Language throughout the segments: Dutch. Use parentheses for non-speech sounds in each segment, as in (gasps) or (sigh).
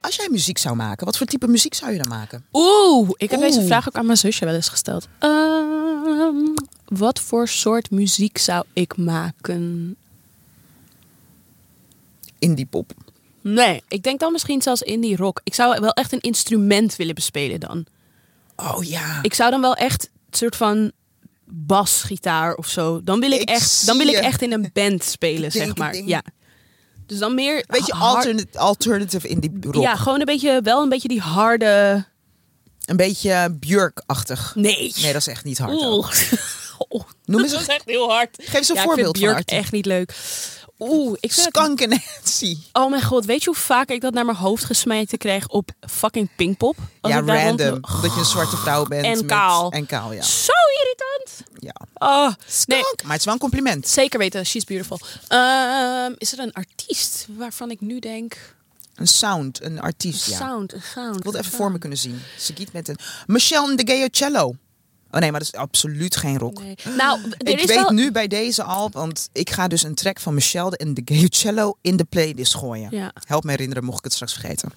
Als jij muziek zou maken, wat voor type muziek zou je dan maken? Oeh, ik heb deze Oeh. vraag ook aan mijn zusje wel eens gesteld. Ehm, wat voor soort muziek zou ik maken? Indie pop. Nee, ik denk dan misschien zelfs indie rock. Ik zou wel echt een instrument willen bespelen dan. Oh ja. Ik zou dan wel echt een soort van basgitaar of zo. Dan wil ik, Ik echt, dan wil zie ik je. echt in een band spelen, Ik zeg denk, ik maar. denk. Ja. Dus dan meer. Weet je, hard- alternative, alternative indie rock. Ja, gewoon een beetje, wel een beetje die harde. Een beetje Björk-achtig. Nee. Nee, dat is echt niet hard. ook. Oeh. (laughs) Oeh. Noem eens Dat is een, echt heel hard. geef eens een ja, voorbeeld ik van vind Björk Artie. echt niet leuk. Oeh, ik vind het- Skank en Nancy. Oh mijn god, weet je hoe vaak ik dat naar mijn hoofd gesmeten kreeg op fucking Pinkpop? Als Ja, ik daar random. rond- Dat je een zwarte vrouw bent. En met- kaal. En kaal, ja. Zo irritant. ja. Oh, nee, Skank. Maar het is wel een compliment. zeker weten. She's beautiful. Ehm, is er een artiest waarvan ik nu denk... Een sound, een artiest, ja. Sound, een sound. Ik wil het even voor me kunnen zien. Ze giet met een... Michelle de Giocello. Oh nee, maar dat is absoluut geen rock. Nee. Nou, er (laughs) Ik is weet wel... nu bij deze al, want ik ga dus een track van Michelle en de Giocello in de playlist gooien. Ja. Help me herinneren, mocht ik het straks vergeten.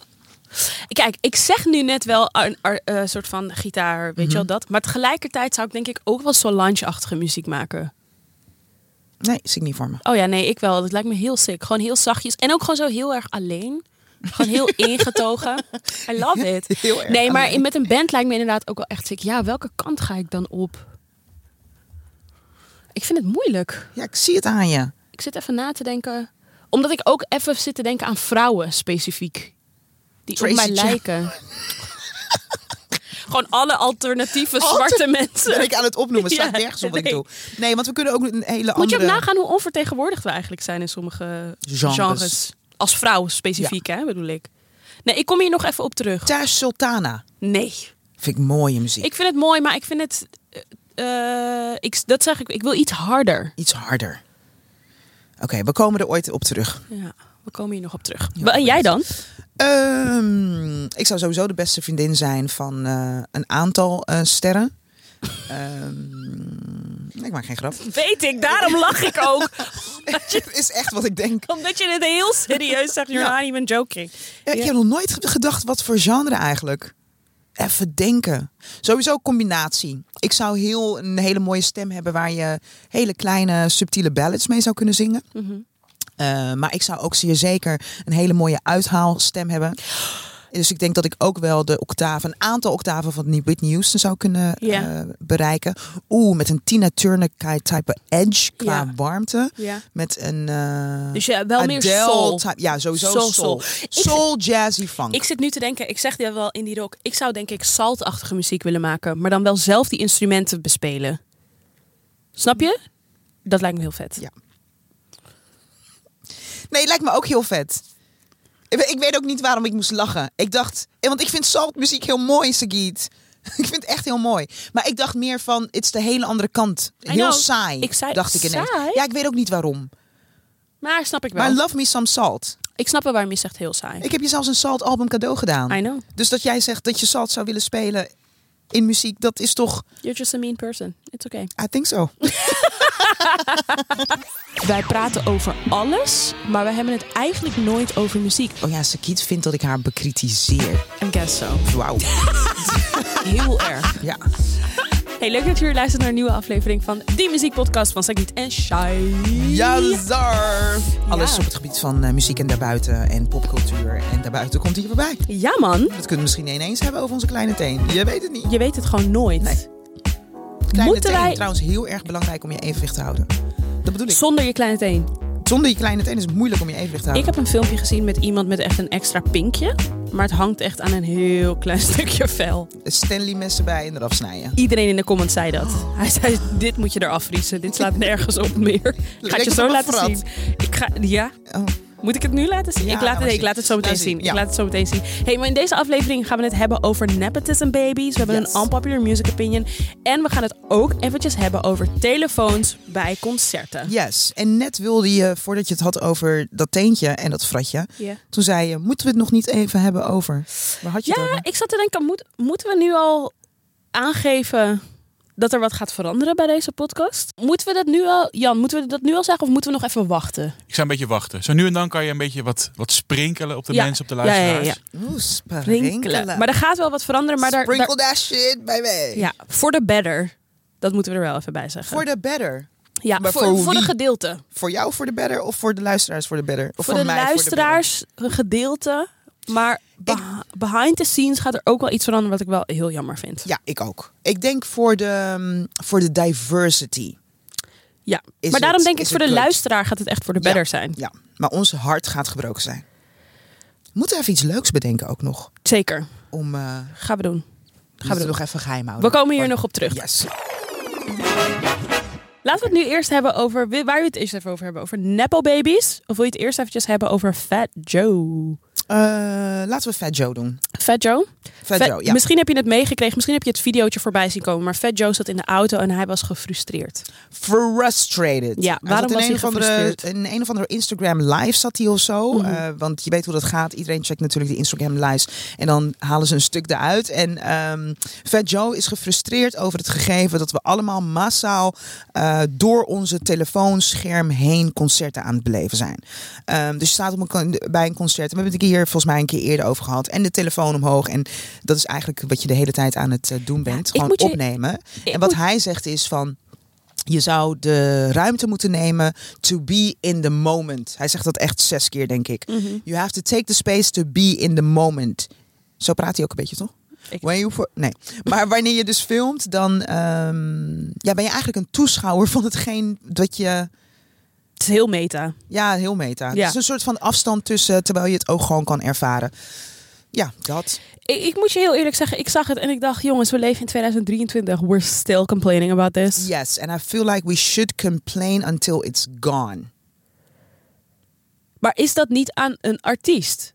Kijk, ik zeg nu net wel een ar- eh, soort van gitaar, weet Mhm. je wel dat. Maar tegelijkertijd zou ik denk ik ook wel Solange-achtige muziek maken. Nee, zie ik niet voor me. Oh ja, nee, ik wel. Dat lijkt me heel sick. Gewoon heel zachtjes. En ook gewoon zo heel erg alleen. Gewoon (laughs) heel ingetogen. I love it. Heel erg nee, maar alleen. in- met een band lijkt me inderdaad ook wel echt sick. Ja, welke kant ga ik dan op? Ik vind het moeilijk. Ja, ik zie het aan (laughs) je. Ik zit even na te denken. Omdat ik ook even zit te denken aan vrouwen specifiek. Die Tracy op mij Chapman. (laughs) lijken. Gewoon alle alternatieve Alter- zwarte mensen. Ben ik aan het opnoemen, staat Ja, nergens op wat nee. ik doe. Nee, want we kunnen ook een hele Moet je ook andere... nagaan hoe onvertegenwoordigd we eigenlijk zijn in sommige genres. Genres. Als vrouw specifiek, hè, bedoel ik. Nee, ik kom hier nog even op terug. Thuis Sultana. Nee. Vind ik mooie muziek. Ik vind het mooi, maar ik vind het... eh, eh, ik, dat zeg ik, ik wil iets harder. Iets harder. Oké, we komen er ooit op terug. Ja, we komen hier nog op terug. Ja, en jij dan? Ehm, ik zou sowieso de beste vriendin zijn van eh, een aantal eh, sterren. (laughs) Ehm, ik maak geen grap. Weet ik, daarom lach ik ook. Het (laughs) is echt wat ik denk. (laughs) Omdat je het heel serieus zegt, you're Ja. not even joking. Ja, Ja. Eh, Ik heb nog nooit ge- gedacht wat voor genre eigenlijk. Even denken. Sowieso combinatie. Ik zou heel een hele mooie stem hebben waar je hele kleine subtiele ballads mee zou kunnen zingen. Mhm. Eh, maar ik zou ook zeer zeker een hele mooie uithaalstem hebben. Dus ik denk dat ik ook wel de octaven, een aantal octaven van die Whitney Houston zou kunnen Ja. eh, bereiken. Oeh, met een Tina Turner type edge qua Ja. warmte. Ja. Met een eh, Dus ja, wel meer Adele soul. type- ja, sowieso Soul, soul. soul. Soul, Ik- jazzy funk. Ik zit nu te denken, ik zeg dit wel in die rock. Ik zou denk ik saltachtige muziek willen maken, maar dan wel zelf die instrumenten bespelen. Snap je? Dat lijkt me heel vet. Ja. Nee, lijkt me ook heel vet. Ik, we- ik weet ook niet waarom ik moest lachen. Ik dacht, eh, want ik vind saltmuziek heel mooi, Sagiet. (laughs) Ik vind het echt heel mooi. Maar ik dacht meer van, het is de hele andere kant. I Heel know. saai, Ik zei, dacht ik ineens. saai? Ja, ik weet ook niet waarom. Maar snap ik wel. Maar Love Me Some Salt. ik snap wel waarom je zegt heel saai. Ik heb je zelfs een Salt album cadeau gedaan. I know. Dus dat jij zegt dat je Salt zou willen spelen in muziek, dat is toch... You're just a mean person. It's okay. I think so. Wij praten over alles, maar we hebben het eigenlijk nooit over muziek. Oh ja, Sagiet vindt dat ik haar bekritiseer. En guess so. Wauw. Heel (laughs) erg. Ja. Hey, leuk dat je weer luistert naar een nieuwe aflevering van Die Muziekpodcast van Sagniet en Shai. Jazar! Alles op het gebied van eh, muziek en daarbuiten en popcultuur. En daarbuiten komt hier voorbij. Ja man, Dat kunnen we misschien ineens hebben over onze kleine teen. Je weet het niet. je weet het gewoon nooit. Nee. Kleine Moeten teen wij- trouwens heel erg belangrijk om je evenwicht te houden. Dat bedoel ik. Zonder je kleine teen. Zonder je kleine teen is het moeilijk om je evenwicht te Ik houden. heb een filmpje gezien met iemand met echt een extra pinkje. Maar het hangt echt aan een heel klein (laughs) stukje vel. Stanley messen bij en eraf snijden. Iedereen in de comments zei dat. Hij zei, dit moet je eraf vriezen. Dit slaat nergens op meer. Ik ga het Lijkt je het zo op een laten verrat. zien. Ik ga, ja, Oh. moet ik het nu laten zien? Ja, ik, laat laat het, maar nee, ik zien. laat het zo meteen Laat zien, zien. ja. Ik laat het zo meteen zien. Hey, maar in deze aflevering gaan we het hebben over nepotism babies. We hebben Yes. een unpopular music opinion. En we gaan het ook eventjes hebben over telefoons bij concerten. Yes. En net wilde je, voordat je het had over dat teentje en dat fratje. Ja. Toen zei je, moeten we het nog niet even hebben over? Waar had je het Ja, over? ik zat te denken, moet, moeten we nu al aangeven dat er wat gaat veranderen bij deze podcast. Moeten we dat nu al, Jan, moeten we dat nu al zeggen of moeten we nog even wachten? Ik zou een beetje wachten. Zo nu en dan kan je een beetje wat, wat sprinkelen op de Ja. mensen, op de Ja, ja, ja, luisteraars. Oeh, sprinkelen. Rinkelen. Maar er gaat wel wat veranderen, maar daar, daar- Sprinkle that shit bij mij. ja, voor de better. Dat moeten we er wel even bij zeggen. Voor de better. ja, maar voor, voor voor een wie? gedeelte. Voor jou voor de better of voor de luisteraars voor de better? Of voor de mij luisteraars een gedeelte. Maar beh- behind the scenes gaat er ook wel iets veranderen wat ik wel heel jammer vind. better? Ja, ik ook. Ik denk voor de, mm, voor de diversity. Ja. Is maar daarom het- denk ik is voor de het leuk? luisteraar gaat het echt voor de better zijn. Ja, maar ons hart gaat gebroken zijn. We moeten even iets leuks bedenken ook nog. Zeker. Om, eh gaan Gaan we doen. we dat nog even geheim We houden. komen hier nog op terug. Yes. Laten we het nu eerst hebben over wi- waar we het eerst even over hebben over nepo babies of wil je het eerst eventjes hebben over Fat Joe? Eh, laten we Fat Joe doen. Fat Joe? Fat, Fat- Joe, ja. Misschien heb je het meegekregen, misschien heb je het videootje voorbij zien komen, maar Fat Joe zat in de auto en hij was gefrustreerd. Frustrated. Ja, Hij waarom zat in een was of hij andere- gefrustreerd? In een of andere Instagram live zat hij of zo. Mhm. Eh, want je weet hoe dat gaat. Iedereen checkt natuurlijk de Instagram lives. En dan halen ze een stuk eruit. En ehm, Fat Joe is gefrustreerd over het gegeven dat we allemaal massaal eh, door onze telefoonscherm heen concerten aan het beleven zijn. Ehm, dus je staat op een, con- bij een concert. We hebben het hier volgens mij een keer eerder over gehad. En de telefoon omhoog. En dat is eigenlijk wat je de hele tijd aan het eh, doen bent. ik Gewoon moet je- opnemen. Ik En wat moet- hij zegt is van. Je zou de ruimte moeten nemen to be in the moment. Hij zegt dat echt zes keer, denk ik. Mhm. You have to take the space to be in the moment. Zo praat hij ook een beetje, toch? Ik- When you for- nee. (laughs) Maar wanneer je dus filmt, dan ehm, ja, ben je eigenlijk een toeschouwer van hetgeen dat je... Het is heel meta. Ja, heel meta. Ja. Het is een soort van afstand tussen, terwijl je het ook gewoon kan ervaren. Ja, dat. Ik, ik moet je heel eerlijk zeggen, ik zag het en ik dacht, jongens, we leven in 2023. We're still complaining about this. Yes, and I feel like we should complain until it's gone. Maar is dat niet aan een artiest?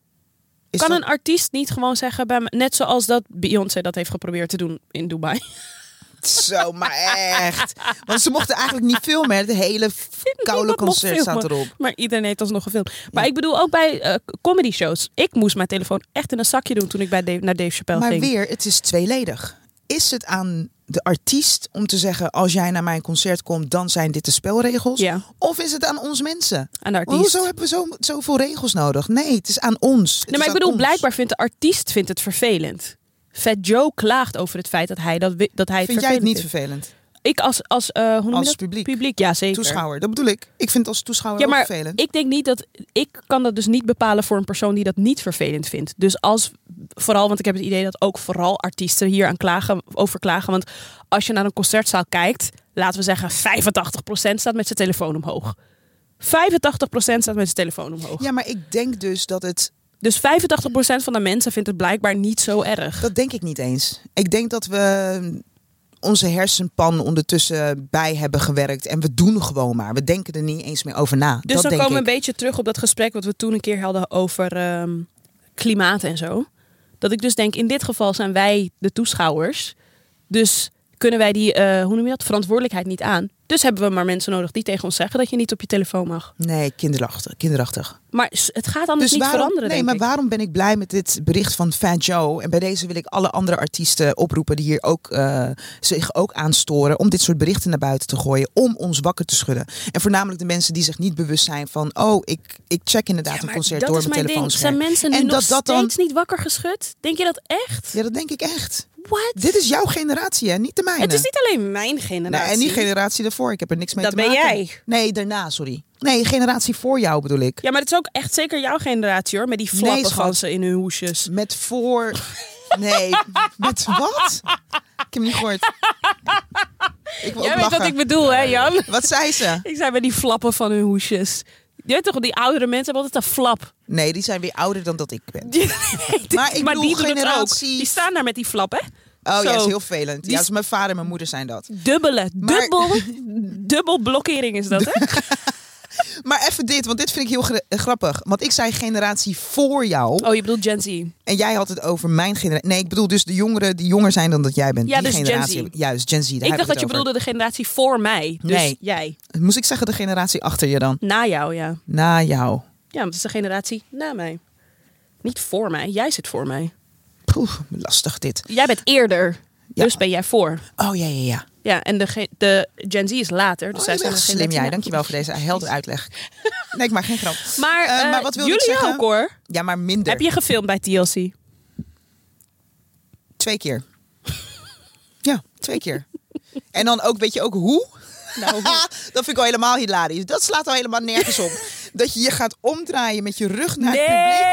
Is kan dat- een artiest niet gewoon zeggen, bij me, net zoals dat Beyoncé dat heeft geprobeerd te doen in Dubai? Zo, maar echt. Want ze mochten eigenlijk niet filmen. hè. De hele f- koude Niemand mocht concert staat filmen. erop. Maar iedereen heeft alsnog gefilmd. Maar Ja. ik bedoel ook bij eh, comedy shows. Ik moest mijn telefoon echt in een zakje doen toen ik bij Dave- naar Dave Chappelle Maar ging. weer, het is tweeledig. Is het aan de artiest om te zeggen... als jij naar mijn concert komt, dan zijn dit de spelregels? Ja, Of is het aan ons mensen? aan de Want artiest. hoezo hebben we zo, zoveel regels nodig? Nee, het is aan ons. Het Nee, is maar ik aan bedoel, ons. blijkbaar vindt de artiest vindt het vervelend. Fat Joe klaagt over het feit dat hij dat, wi- dat hij het Vind jij het vervelend niet vindt. vervelend? Ik als, als, eh, hoe noem je Als dat? publiek. publiek, ja zeker. Toeschouwer, dat bedoel ik. Ik vind het als toeschouwer Ja, ook maar vervelend. ik denk niet dat ik kan dat dus niet bepalen voor een persoon die dat niet vervelend vindt. Dus als vooral, want ik heb het idee dat ook vooral artiesten hier aan klagen over klagen. Want als je naar een concertzaal kijkt, laten we zeggen 85% staat met zijn telefoon omhoog. 85% staat met zijn telefoon omhoog. Ja, maar ik denk dus dat het Dus 85% van de mensen vindt het blijkbaar niet zo erg. Dat denk ik niet eens. Ik denk dat we ehm, onze hersenpan ondertussen bij hebben gewerkt. En we doen gewoon maar. We denken er niet eens meer over na. Dus dat dan denk komen we een ik. beetje terug op dat gesprek wat we toen een keer hadden over ehm, klimaat en zo. Dat ik dus denk, in dit geval zijn wij de toeschouwers. Dus kunnen wij die, eh, hoe noem je dat, verantwoordelijkheid niet aan. Dus hebben we maar mensen nodig die tegen ons zeggen dat je niet op je telefoon mag. Nee, kinderachtig. kinderachtig. Maar s- het gaat anders niet Dus waarom, veranderen, nee, denk maar ik. waarom ben ik blij met dit bericht van Fat Joe? En bij deze wil ik alle andere artiesten oproepen die hier ook, eh, zich ook aanstoren. Om dit soort berichten naar buiten te gooien. Om ons wakker te schudden. En voornamelijk de mensen die zich niet bewust zijn van... Oh, ik, ik check inderdaad een Maar concert dat door is mijn mijn ding. Zijn telefoonscherm. mensen nu En nog dat dat dan- steeds niet wakker geschud? Denk je dat echt? Ja, dat denk ik echt. What? Dit is jouw generatie, hè? Niet de mijne. Het is niet alleen mijn generatie. Nee, en die generatie daarvoor. Ik heb er niks mee Dat te ben maken. jij. Nee, daarna, sorry. Nee, generatie voor jou bedoel ik. Ja, maar het is ook echt zeker jouw generatie hoor. Met die flappenganzen in hun hoesjes. Met voor... Nee, met wat? Ik heb hem niet gehoord. Ik wil Jij ook weet lachen. wat ik bedoel, hè, Jan? Wat zei ze? Ik zei bij die flappen van hun hoesjes. Je weet toch, die oudere mensen hebben altijd een flap. Nee, die zijn weer ouder dan dat ik ben. Die- Maar ik bedoel die doen het ook. generatie- Die staan daar met die flap, hè? Oh ja, Zo. is heel vervelend. Die Ja, is- dus mijn vader en mijn moeder zijn dat. Dubbele, Maar- dubbel, (laughs) dubbel blokkering is dat, hè? Maar even dit, want dit vind ik heel gra- eh, grappig. Want ik zei generatie voor jou. Oh, je bedoelt Gen Z. En jij had het over mijn generatie. Nee, ik bedoel dus de jongeren die jonger zijn dan dat jij bent. Ja, die dus Gen generatie. Z. heb ik- Juist, Gen Z. daar heb Ik dacht het dat je over. bedoelde de generatie voor mij. Dus Nee. jij. Moest ik zeggen de generatie achter je dan? Na jou, ja. Na jou. Ja, want het is de generatie na mij. Niet voor mij. Jij zit voor mij. Poeh, lastig dit. Jij bent eerder. Ja. Dus ben jij voor. Oh ja, ja, ja. Ja, en de, ge- de Gen Z is later. Dus Oh, zij je zijn bent echt nog geen slim Gen Z. jij. Dankjewel voor deze helder uitleg. (laughs) Nee, ik maak geen grap. Maar, Eh, eh, maar wat wilde ik jullie zeggen? ook hoor. Ja, maar minder. Heb je gefilmd bij TLC? Twee keer. ja, twee keer. En dan ook, weet je ook hoe? (laughs) Nou, Ha, dat vind ik al helemaal hilarisch. Dat slaat al helemaal nergens op. dat je je gaat omdraaien met je rug naar het publiek.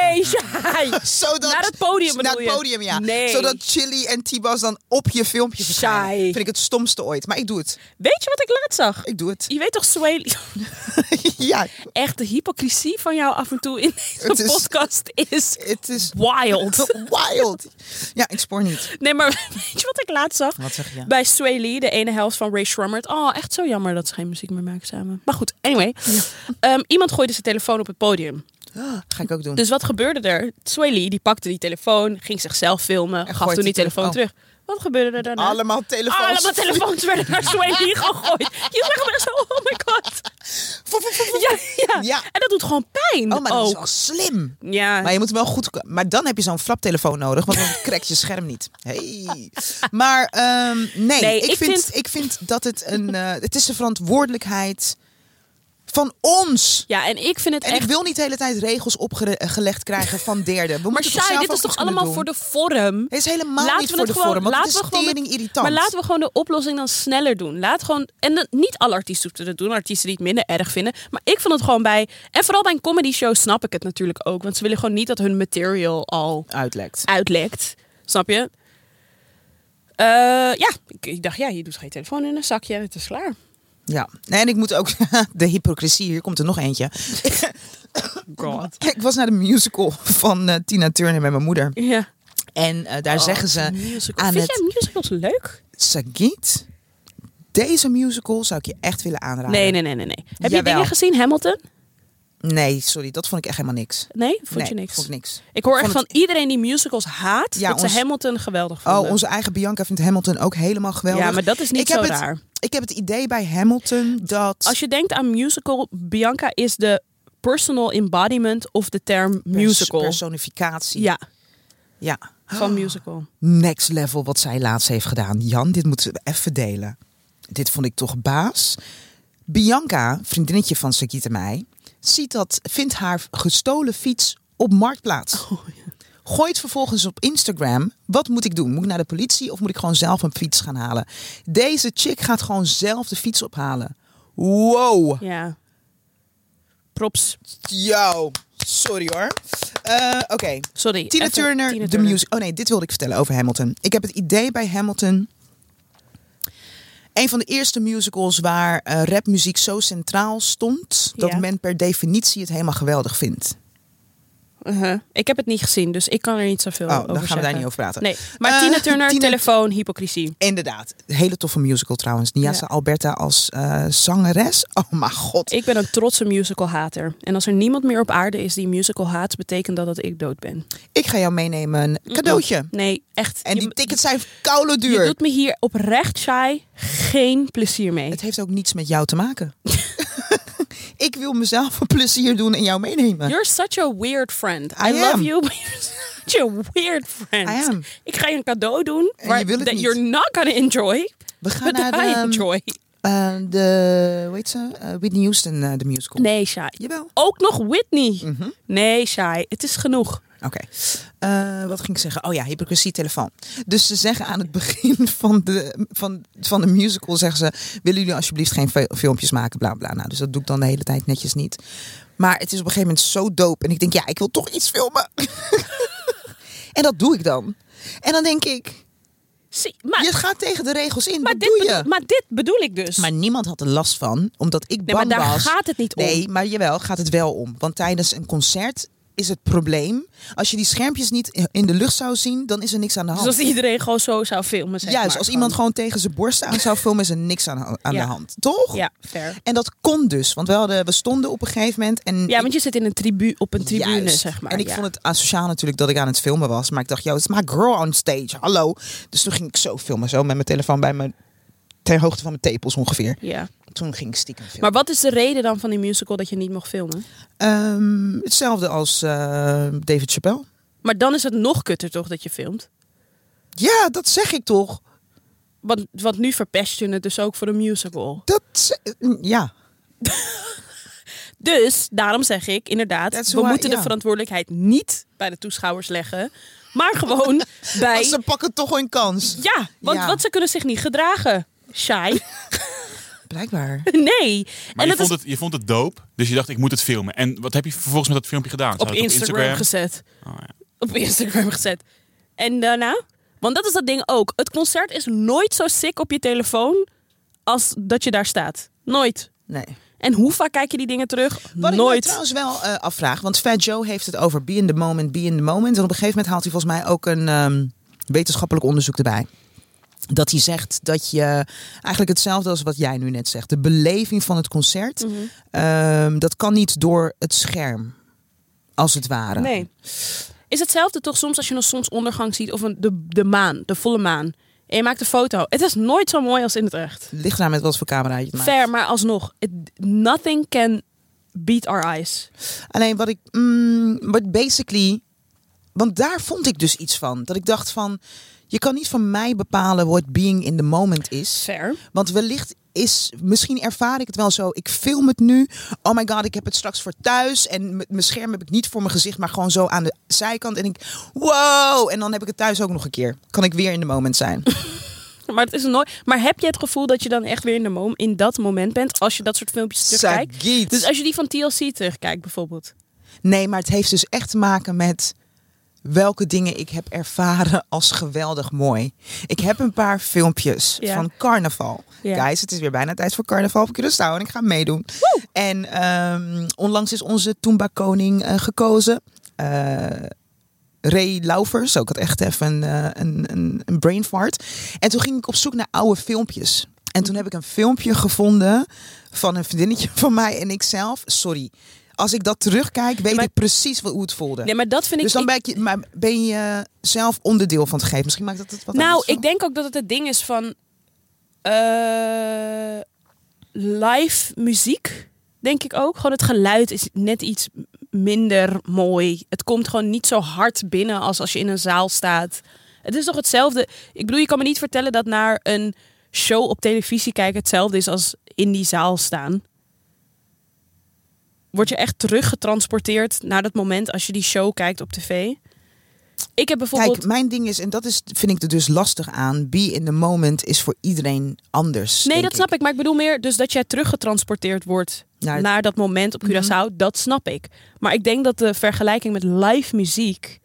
nee, (laughs) Shai. Zodat, Naar het podium Naar bedoel het je? podium, ja. Nee. Zodat Chili en Tibas dan op je filmpje verschijnen. Saai. Vind ik het stomste ooit. Maar ik doe het. Weet je wat ik laatst zag? Ik doe het. Je weet toch, Swaley, (laughs) ja, (laughs) echt de hypocrisie van jou af en toe in Het deze is- podcast is het is (laughs) wild. wild. Ja, ik spoor niet. Nee, maar (laughs) weet je wat ik laatst zag? Wat zeg je? Bij Sway Lee, de ene helft van Ray Schrummert. Oh, echt zo jammer dat ze geen muziek meer maken samen. Maar goed, anyway. Ehm, iemand gooide zijn telefoon op het podium. Ah, Ga ik ook doen. Dus wat gebeurde er? Sway Lee, die pakte die telefoon, ging zichzelf filmen, En gaf gooit toen die die telefoon telefoon- terug. Wat gebeurde er daarna? Allemaal telefoons. Allemaal telefoons werden naar Sway Lee gegooid. Je zag hem echt zo, oh my god. Ja, ja. Ja. En dat doet gewoon pijn. Oh, maar dat is ook. wel slim. Ja. Maar je moet wel goed. Maar dan heb je zo'n flaptelefoon nodig, want dan crackt je scherm niet. Hey. Maar ehm, nee, Nee, ik, ik vind, vind- ik vind dat het een. eh, het is de verantwoordelijkheid van ons. Ja, en ik vind het En echt... ik wil niet de hele tijd regels opgelegd krijgen van derden. We maar moeten Shai, zelf dit ook is toch iets kunnen doen. allemaal voor de vorm? Het is helemaal niet voor de vorm, want het is tering met- irritant. Maar laten we gewoon de oplossing dan sneller doen. Laat gewoon, en dan- niet alle artiesten hoeven het te doen, artiesten die het minder erg vinden. Maar ik vond het gewoon bij, en vooral bij een comedy show snap ik het natuurlijk ook. Want ze willen gewoon niet dat hun material al Uitlekt. uitlekt. Snap je? Eh, ja, ik, ik dacht, ja, je doet geen telefoon in een zakje en het is klaar. Ja. Nee, en ik moet ook... (laughs) de hypocrisie, hier komt er nog eentje. God. ik was naar de musical van eh, Tina Turner met mijn moeder. Ja. En eh, daar Oh, zeggen ze... musical. aan Vind het- jij musicals leuk? Sagiet, deze musical zou ik je echt willen aanraden. Nee, nee, nee, nee. nee. Heb je Jawel. dingen gezien? Hamilton? Nee, sorry, dat vond ik echt helemaal niks. Nee? Vond nee, je niks? Vond ik niks. Ik hoor echt Vond van het- iedereen die musicals haat, Ja, dat ons- ze Hamilton geweldig Oh, vonden. onze eigen Bianca vindt Hamilton ook helemaal geweldig. Ja, maar dat is niet ik zo heb het, raar. Ik heb het idee bij Hamilton dat... Als je denkt aan musical, Bianca is de personal embodiment of de term pers- musical. Personificatie. ja, ja. van (gasps) musical. Next level wat zij laatst heeft gedaan. Jan, dit moeten we even delen. Dit vond ik toch baas. Bianca, vriendinnetje van Sagiet en mij, ziet dat, vindt haar gestolen fiets op Marktplaats. Oh, Gooit vervolgens op Instagram. Wat moet ik doen? Moet ik naar de politie of moet ik gewoon zelf een fiets gaan halen? Deze chick gaat gewoon zelf de fiets ophalen. Wow. Ja. Props. Yo. Sorry hoor. Eh, Oké. Sorry. Tina even Turner, Tina de Turner. music. Oh nee, dit wilde ik vertellen over Hamilton. Ik heb het idee bij Hamilton. Een van de eerste musicals waar eh, rapmuziek zo centraal stond. dat Ja. men per definitie het helemaal geweldig vindt. Uh-huh. Ik heb het niet gezien, dus ik kan er niet zoveel Oh, over dan gaan we daar zeggen. niet over praten. Nee, maar Eh, Tina Turner, Tina- telefoon, hypocrisie. Inderdaad. Hele toffe musical trouwens. Niasa Ja. Alberta als eh, zangeres. Oh mijn god. Ik ben een trotse musical hater. En als er niemand meer op aarde is die musical haat, betekent dat dat ik dood ben. Ik ga jou meenemen. Een cadeautje. Nee, echt. En je- die tickets zijn koude Je duur. doet me hier oprecht saai geen plezier mee. Het heeft ook niets met jou te maken. (laughs) ik wil mezelf een plezier doen en jou meenemen. You're such a weird friend. I, I love am. you, but you're such a weird friend. I am. Ik ga je een cadeau doen En waar, je wil het that niet. you're not gonna enjoy, We gaan but naar de, I ehm, enjoy. eh, de hoe heet ze? Eh, Whitney Houston, eh, de musical. Nee, saai. Jawel. Ook nog Whitney. Mhm. Nee, saai. Het is genoeg. Oké. Eh, wat ging ik zeggen? Oh ja, hypocrisie telefoon. Dus ze zeggen aan het begin (laughs) van de, van, van de musical, zeggen ze, willen jullie alsjeblieft geen fil- filmpjes maken, bla bla. Nou, dus dat doe ik dan de hele tijd netjes niet. Maar het is op een gegeven moment zo dope. En ik denk, ja, ik wil toch iets filmen. (laughs) en dat doe ik dan. En dan denk ik, Zie, maar, je gaat tegen de regels in. maar, wat dit doe bedoel, je? maar dit bedoel ik dus. Maar niemand had er last van, omdat ik nee, bang maar daar was. gaat het niet om. Nee, maar jawel, gaat het wel om. Want tijdens een concert is het probleem. Als je die schermpjes niet in de lucht zou zien, dan is er niks aan de hand. Dus als iedereen gewoon zo zou filmen, zeg Juist, maar, als iemand gewoon tegen zijn borst aan zou filmen, is er niks aan, aan Ja. de hand. Toch? Ja, fair. En dat kon dus, want we, hadden, we stonden op een gegeven moment. En Ja, want je zit in een tribu op een ik- tribune, juist. zeg maar. En ik ja. vond het asociaal natuurlijk dat ik aan het filmen was. Maar ik dacht, yo, it's my girl on stage, hallo. Dus toen ging ik zo filmen, zo met mijn telefoon bij mijn... Ter hoogte van mijn tepels ongeveer. Ja. Toen ging ik stiekem filmen. Maar wat is de reden dan van die musical dat je niet mocht filmen? Ehm, hetzelfde als eh, David Chappelle. Maar dan is het nog kutter toch dat je filmt? Ja, dat zeg ik toch. Want, want nu verpest je het dus ook voor een musical. Dat, is- ja, Dus daarom zeg ik inderdaad, That's we why- moeten de ja. verantwoordelijkheid niet bij de toeschouwers leggen, maar (laughs) gewoon bij. Want ze pakken toch een kans. Ja, want, Ja. want ze kunnen zich niet gedragen. Shy. (laughs) Blijkbaar. Nee. Maar en je dat is vond, het, je vond het doop, dus je dacht ik moet het filmen. En wat heb je vervolgens met dat filmpje gedaan? Ze op hadden het Instagram, gezet. Oh, ja. Op Instagram gezet. En daarna? Want dat is dat ding ook. Het concert is nooit zo sick op je telefoon als dat je daar staat. Nooit. Nee. En hoe vaak kijk je die dingen terug? Wat ik me nooit. trouwens wel eh, afvraag, want Fat Joe heeft het over be in the moment, be in the moment. En op een gegeven moment haalt hij volgens mij ook een ehm, wetenschappelijk onderzoek erbij. Dat hij zegt dat je eigenlijk hetzelfde als wat jij nu net zegt. De beleving van het concert, Mhm. ehm, dat kan niet door het scherm, als het ware. Nee. Is hetzelfde toch soms als je een zonsondergang ziet of een, de, de maan, de volle maan. En je maakt een foto. Het is nooit zo mooi als in het echt. Ligt eraan met wat voor camera je het maakt. Fair, maar alsnog. it- nothing can beat our eyes. Alleen wat ik, mm, wat basically, want daar vond ik dus iets van. Dat ik dacht van, je kan niet van mij bepalen wat being in the moment is. Fair. Want wellicht is, misschien ervaar ik het wel zo. Ik film het nu. Oh my god, ik heb het straks voor thuis. En m- mijn scherm heb ik niet voor mijn gezicht, maar gewoon zo aan de zijkant. En ik, wow! En dan heb ik het thuis ook nog een keer. Kan ik weer in de moment zijn. Maar, het is nooit, maar heb je het gevoel dat je dan echt weer in, de mom, in dat moment bent als je dat soort filmpjes terugkijkt? Sagiet. (laughs) Dus als je die van TLC terugkijkt bijvoorbeeld. Nee, maar het heeft dus echt te maken met welke dingen ik heb ervaren als geweldig mooi. Ik heb een paar filmpjes Ja. van carnaval. Ja. Guys, het is weer bijna tijd voor carnaval op Curaçao en ik ga meedoen. En ehm, onlangs is onze Toomba koning eh, gekozen. Eh, Ray Lauvers, ook had echt even een, eh, een, een, een brain fart. En toen ging ik op zoek naar oude filmpjes. En toen heb ik een filmpje gevonden van een vriendinnetje van mij en ikzelf. Sorry, als ik dat terugkijk, weet maar- ik precies wat, hoe het voelde. Nee, maar dat vind ik... dus dan ik- ben, je, maar ben je zelf onderdeel van het gegeven. Misschien maakt dat het wat uit nou, of zo. ik denk ook dat het het ding is van eh, live muziek, denk ik ook. Gewoon het geluid is net iets minder mooi. Het komt gewoon niet zo hard binnen als als je in een zaal staat. Het is toch hetzelfde. Ik bedoel, je kan me niet vertellen dat naar een show op televisie kijken hetzelfde is als in die zaal staan. Word je echt teruggetransporteerd naar dat moment als je die show kijkt op tv? Ik heb bijvoorbeeld. Kijk, mijn ding is, en dat is, vind ik er dus lastig aan. Be in the moment is voor iedereen anders. Nee, denk dat snap ik. Maar ik bedoel meer dus dat jij teruggetransporteerd wordt Naar- Mhm. naar, dat moment op Curaçao. Dat snap ik. Maar ik denk dat de vergelijking met live muziek...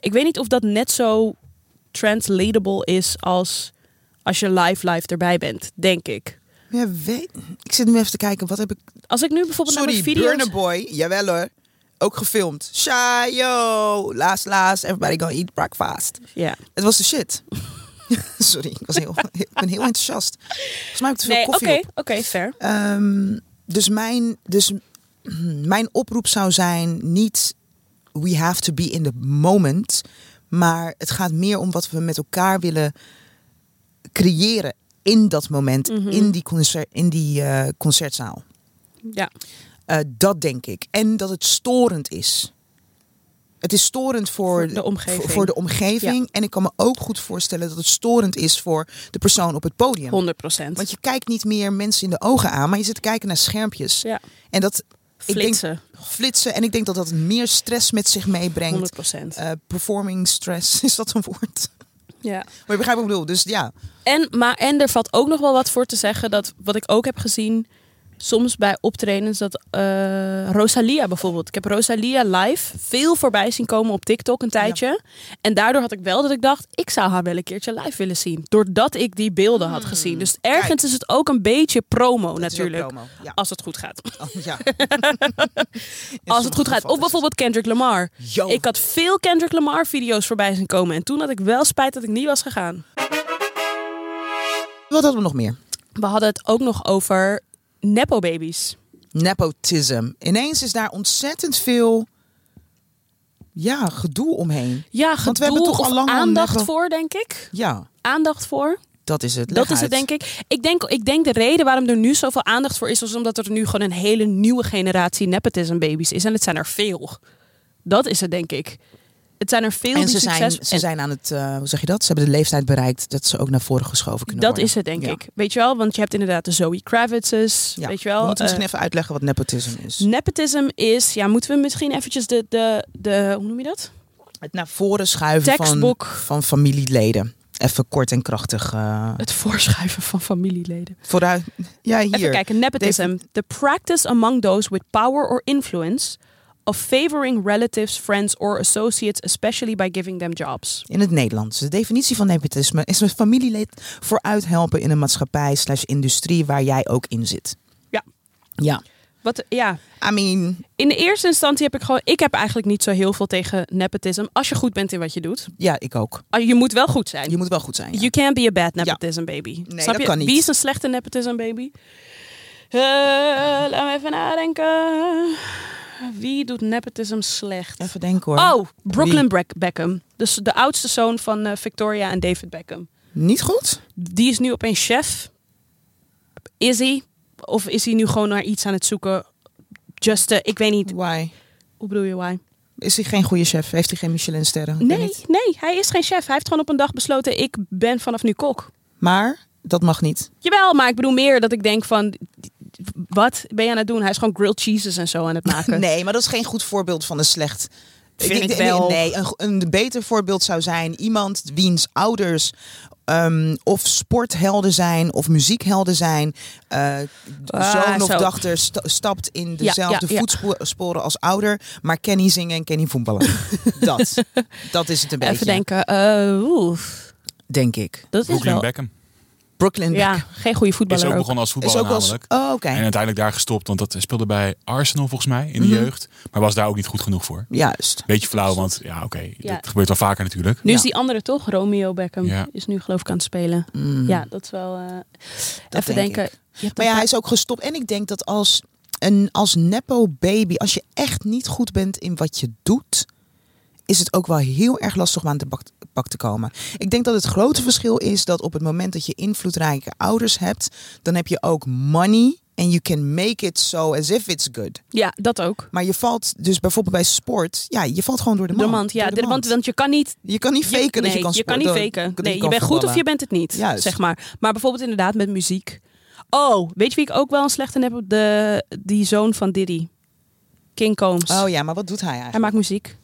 Ik weet niet of dat net zo translatable is als als je live live erbij bent, denk ik. Ja, weet, ik zit nu even te kijken, wat heb ik... Als ik nu bijvoorbeeld naar Sorry, mijn video's... Burner Boy, jawel hoor. Ook gefilmd. Shayo, laas laas, everybody gonna eat breakfast. Ja. Het was de shit. (laughs) Sorry, ik, was heel, ik ben heel enthousiast. Volgens mij heb ik te veel Nee, oké, koffie op. oké, fair. Ehm, dus mijn, dus (clears throat) mijn oproep zou zijn: niet we have to be in the moment. Maar het gaat meer om wat we met elkaar willen creëren in dat moment, Mhm. in die, concert, in die eh, concertzaal. Ja. Eh, dat denk ik. En dat het storend is. Het is storend voor, Voor de omgeving. Voor, voor de omgeving. En ik kan me ook goed voorstellen dat het storend is voor de persoon op het podium. 100 procent. Want je kijkt niet meer mensen in de ogen aan, maar je zit te kijken naar schermpjes. Ja, En dat ik denk- flitsen. flitsen. En ik denk dat dat meer stress met zich meebrengt. 100 procent. Eh, performing stress, (laughs) is dat een woord? ja. Maar je begrijpt wat ik bedoel. Dus ja, En, maar, en er valt ook nog wel wat voor te zeggen dat wat ik ook heb gezien, soms bij optredens, dat eh, Rosalia bijvoorbeeld. Ik heb Rosalia live veel voorbij zien komen op TikTok een tijdje. En daardoor had ik wel dat ik dacht, ik zou haar wel een keertje live willen zien. Doordat ik die beelden had gezien. Dus ergens Mm. kijk. is het ook een beetje promo dat is ook natuurlijk. promo. Ja. Als het goed gaat. Oh, (laughs) ja. Als het goed gaat. Of bijvoorbeeld Kendrick Lamar. Yo. Ik had veel Kendrick Lamar video's voorbij zien komen. En toen had ik wel spijt dat ik niet was gegaan. Wat hadden we nog meer? We hadden het ook nog over nepo-babies. Nepotism. Ineens is daar ontzettend veel ja, gedoe omheen. Ja, we hebben gedoe toch of al lang al aandacht nepo- voor, denk ik. Ja, Aandacht voor. dat is het. Leg dat is uit. het, denk ik. Ik denk, ik denk de reden waarom er nu zoveel aandacht voor is... is omdat er nu gewoon een hele nieuwe generatie nepotism-babies is. En het zijn er veel. Dat is het, denk ik. het zijn er veel En die ze zijn, succes... ze en zijn aan het, eh, hoe zeg je dat? Ze hebben de leeftijd bereikt dat ze ook naar voren geschoven kunnen dat worden. is het, denk Ja. ik. Weet je wel? Want je hebt inderdaad de Zoe Kravitz's, Ja. weet je We wel? moeten eh, misschien even uitleggen wat nepotisme is. Nepotism is, ja, moeten we misschien eventjes de, de, de hoe noem je dat? Het naar voren schuiven van, Tekstboek. van familieleden. Even kort en krachtig. eh, Het voorschuiven van familieleden. vooruit. Ja, Even hier. kijken, nepotism. The practice among those with power or influence of favoring relatives, friends or associates, especially by giving them jobs. In het Nederlands. De definitie van nepotisme is een familielid vooruit helpen in een maatschappij slash industrie waar jij ook in zit. Ja. Ja. Wat, ja, I mean, in de eerste instantie heb ik gewoon, ik heb eigenlijk niet zo heel veel tegen nepotism. Als je goed bent in wat je doet. ja, ik ook. Ah, Je moet wel goed zijn. Je moet wel goed zijn. ja. You can't be a bad nepotism baby. Nee, Snap dat je? kan niet. Wie is een slechte nepotism baby? Eh, laat me even nadenken. Wie doet nepotism slecht? Even denken hoor. Oh, Brooklyn Bre- Beckham. Dus de oudste zoon van eh, Victoria en David Beckham. Niet goed? Die is nu opeens chef. Is hij? Of is hij nu gewoon naar iets aan het zoeken? Just, eh, ik weet niet. Why? Hoe bedoel je, why? Is hij geen goede chef? Heeft hij geen Michelinsterren? Ik weet Nee, niet. nee, hij is geen chef. Hij heeft gewoon op een dag besloten, ik ben vanaf nu kok. Maar dat mag niet. Jawel, maar ik bedoel meer dat ik denk van... Wat ben je aan het doen? Hij is gewoon grilled cheeses en zo aan het (laughs) (laughs) maken. Nee, maar dat is geen goed voorbeeld van een slecht. Vind ik denk- wel. Nee, een, go- een beter voorbeeld zou zijn iemand wiens ouders ehm, of sporthelden zijn of muziekhelden zijn. Eh, Ah, zoon of zo. dochter sta- stapt in Ja, dezelfde ja, ja. voetsporen als ouder, maar ken niet zingen en ken niet voetballen. (laughs) dat, dat is het een beetje, Even denken, eh, oeh, denk ik. dat is Brooklyn wel... Beckham. Brooklyn Ja, geen goede Is voetballer ook ook. begonnen als is voetballer ook wel. namelijk. Oh, oké. En uiteindelijk daar gestopt, want dat speelde bij Arsenal volgens mij in de Mhm. jeugd. Maar was daar ook niet goed genoeg voor. Juist. Beetje flauw, want ja, oké, Ja. dat gebeurt wel vaker natuurlijk. Nu Ja. is Dus die andere toch, Romeo Beckham, Ja. is nu geloof ik aan het spelen. Mm. Ja, dat is wel... eh, even denk denken. ik. je hebt Maar ja, een hij is ook gestopt. En ik denk dat als een als nepo baby, als je echt niet goed bent in wat je doet, is het ook wel heel erg lastig om aan de bak, bak te komen. Ik denk dat het grote verschil is dat op het moment dat je invloedrijke ouders hebt, dan heb je ook money. En you can make it so as if it's good. paar- ja, dat ook. Maar je valt dus bijvoorbeeld bij sport, ja, je valt gewoon door de De mand. mand, ja. door de de- mand. want, want je kan niet... je kan niet faken dat je nee, kan je kan sporten. niet dat faken. je Nee, je kan bent goed of voetballen. je bent het niet, Juist. zeg maar. Maar bijvoorbeeld inderdaad met muziek. Oh, weet je wie ik ook wel een slechte heb? De, die zoon van Diddy. King Combs. Oh ja, maar wat doet hij eigenlijk? Hij maakt muziek.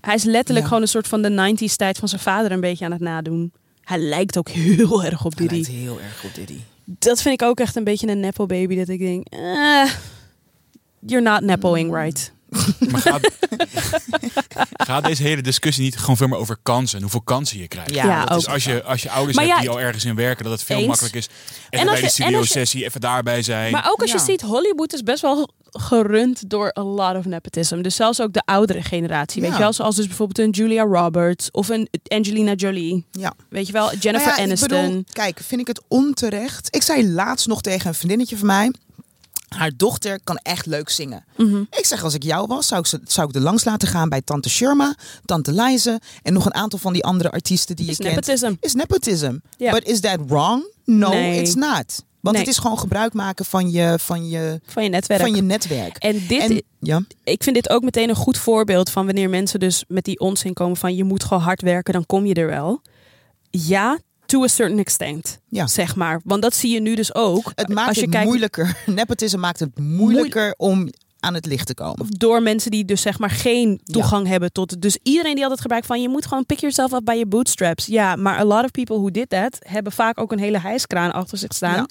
Hij is letterlijk Ja. gewoon een soort van de 90s tijd van zijn vader een beetje aan het nadoen. Hij lijkt ook heel erg op Hij Diddy. lijkt heel erg op Diddy. Dat vind ik ook echt een beetje een nepo baby. Dat ik denk, eh, you're not nepoing right. (laughs) Maar gaat, gaat deze hele discussie niet gewoon veel meer over kansen en hoeveel kansen je krijgt? Ja, Ja, dat ook. Dus als je, als je ouders Maar hebt ja, die al ergens in werken, dat het veel eens. makkelijker is. als Even bij je- de en als je- studio-sessie, even daarbij zijn. Maar ook als je Ja. ziet, Hollywood is best wel gerund door a lot of nepotism. Dus zelfs ook de oudere generatie. Weet Ja. je wel, zoals dus bijvoorbeeld een Julia Roberts of een Angelina Jolie. Ja. Weet je wel, Jennifer Nou ja, ik Aniston. bedoel, kijk, vind ik het onterecht. Ik zei laatst nog tegen een vriendinnetje van mij. Haar dochter kan echt leuk zingen. Mhm. Ik zeg, als ik jou was, zou ik, ze- zou ik er langs laten gaan bij Tante Sherma, Tante Lize en nog een aantal van die andere artiesten die Is je kent. nepotism. Is nepotism. Ja. But is that wrong? No, Nee. it's not. Want Nee. het is gewoon gebruik maken van je, van je, Van je netwerk. van je netwerk. En dit, En- ja. ik vind dit ook meteen een goed voorbeeld van wanneer mensen dus met die onzin komen van je moet gewoon hard werken, dan kom je er wel. Ja, to a certain extent, Ja. zeg maar. Want dat zie je nu dus ook. Het maakt Als je het kijkt- moeilijker. (laughs) Nepotism maakt het moeilijker om aan het licht te komen. Door mensen die dus zeg maar geen toegang hebben tot... Dus iedereen die altijd gebruikt van je moet gewoon pick yourself up by your bootstraps. Ja, maar a lot of people who did that hebben vaak ook een hele hijskraan achter zich staan. Ja.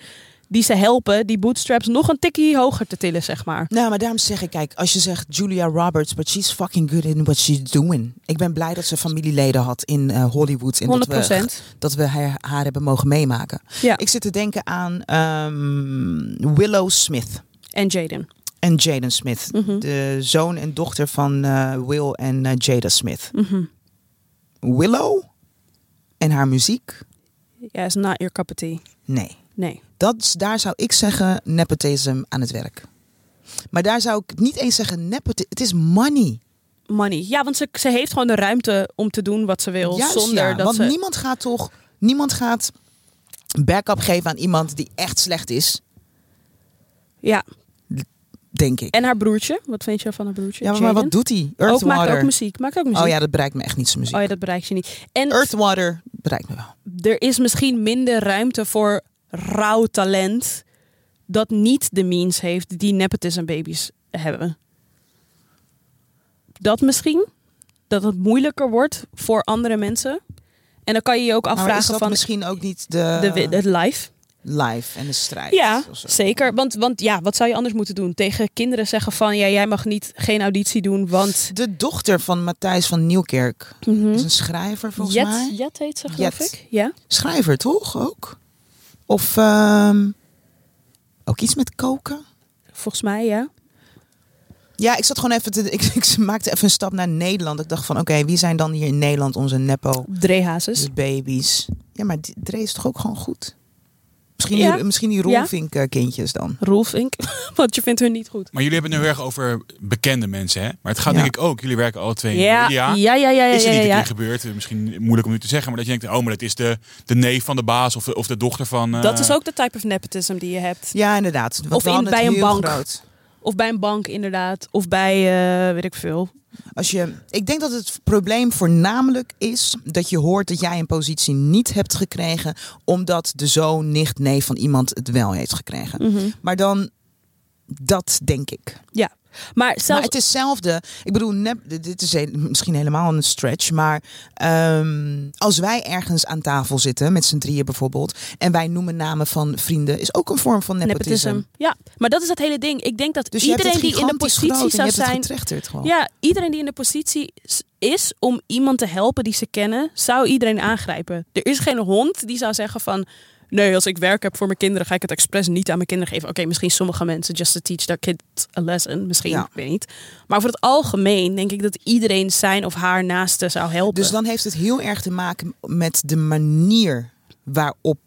Die ze helpen die bootstraps nog een tikkie hoger te tillen, zeg maar. Nou, maar daarom zeg ik, kijk, als je zegt Julia Roberts, but she's fucking good in what she's doing. Ik ben blij dat ze familieleden had in eh, Hollywood. En dat we, 100%. dat we haar, haar hebben mogen meemaken. Ja, Ik zit te denken aan ehm, Willow Smith en Jaden. en Jaden Smith. Mhm. De zoon en dochter van eh, Will en eh, Jada Smith. Mhm. Willow en haar muziek? Ja, is not your cup of tea. Nee. Nee. Dat, is- daar zou ik zeggen nepotism aan het werk. Maar daar zou ik niet eens zeggen nepotism. Het is money. money. Ja, want ze, ze heeft gewoon de ruimte om te doen wat ze wil. Juist, zonder ja, dat want ze. niemand gaat toch niemand gaat backup geven aan iemand die echt slecht is. Ja, Denk ik. En haar broertje. Wat vind je van haar broertje? ja, maar Jaden? wat doet hij? Earth ook, maakt ook Water. muziek. Maakt ook muziek. Oh ja, dat bereikt me echt niet, zijn muziek. Oh ja, dat bereik je niet. En Earth Water bereikt me wel. er is misschien minder ruimte voor rauw talent dat niet de means heeft die nepotism baby's hebben. Dat misschien? Dat het moeilijker wordt voor andere mensen? En dan kan je je ook Maar is afvragen dat van misschien eh, ook niet de, de, wi- het live. live en de strijd? Ja, of zo? zeker. Want, want ja, wat zou je anders moeten doen? Tegen kinderen zeggen van ja, jij mag niet, geen auditie doen, want... De dochter van Matthijs van Nieuwkerk is Mhm. een schrijver volgens Jet, mij. Jet heet ze geloof Jet. ik. Ja. Schrijver toch ook? Of ehm, ook iets met koken? Volgens mij, ja. Ja, ik zat gewoon even te. Ik, (laughs) ik maakte even een stap naar Nederland. Ik dacht van, oké, wie zijn dan hier in Nederland onze nepo Drehazes. de baby's? Ja, maar die- Dre is toch ook gewoon goed. Misschien Ja. die, misschien die Ja. Roelvink eh, kindjes dan. Rolf Ink. (laughs) Want je vindt hun niet goed. Maar jullie hebben het nu erg over bekende mensen, hè? Maar het gaat Ja. denk ik ook. Jullie werken alle twee in de Ja, media. ja, ja, ja, ja. Is er ja, niet een ja. keer gebeurd? Misschien moeilijk om nu te zeggen, maar dat je denkt, oh, maar dat is de, de neef van de baas of de, of de dochter van. eh, Dat is ook de type of nepotism die je hebt. Ja, inderdaad. Want Of we in- hadden het bij een heel bank. groot. Of bij een bank inderdaad. Of bij, eh, weet ik veel. Als je, ik denk dat het probleem voornamelijk is dat je hoort dat jij een positie niet hebt gekregen. omdat de zoon, nicht, neef van iemand het wel heeft gekregen. Maar dan, dat denk ik. Ja. Maar zelfs... Maar het is hetzelfde. Ik bedoel, nep- dit- dit is he- misschien helemaal een stretch. Maar ehm, als wij ergens aan tafel zitten, met z'n drieën bijvoorbeeld. en wij noemen namen van vrienden, is ook een vorm van nepotisme. Ja. Maar dat is het hele ding. Ik denk dat Dus je hebt iedereen het die in de gigantisch positie groot en zou je hebt zijn... Het getrechterd gewoon. Ja, iedereen die in de positie s- is om iemand te helpen die ze kennen, zou iedereen aangrijpen. Er is geen hond die zou zeggen van. Nee, als ik werk heb voor mijn kinderen, ga ik het expres niet aan mijn kinderen geven. Oké, misschien sommige mensen, just to teach their kid a lesson. Misschien, Ja. ik weet niet. Maar voor het algemeen denk ik dat iedereen zijn of haar naaste zou helpen. Dus dan heeft het heel erg te maken met de manier waarop,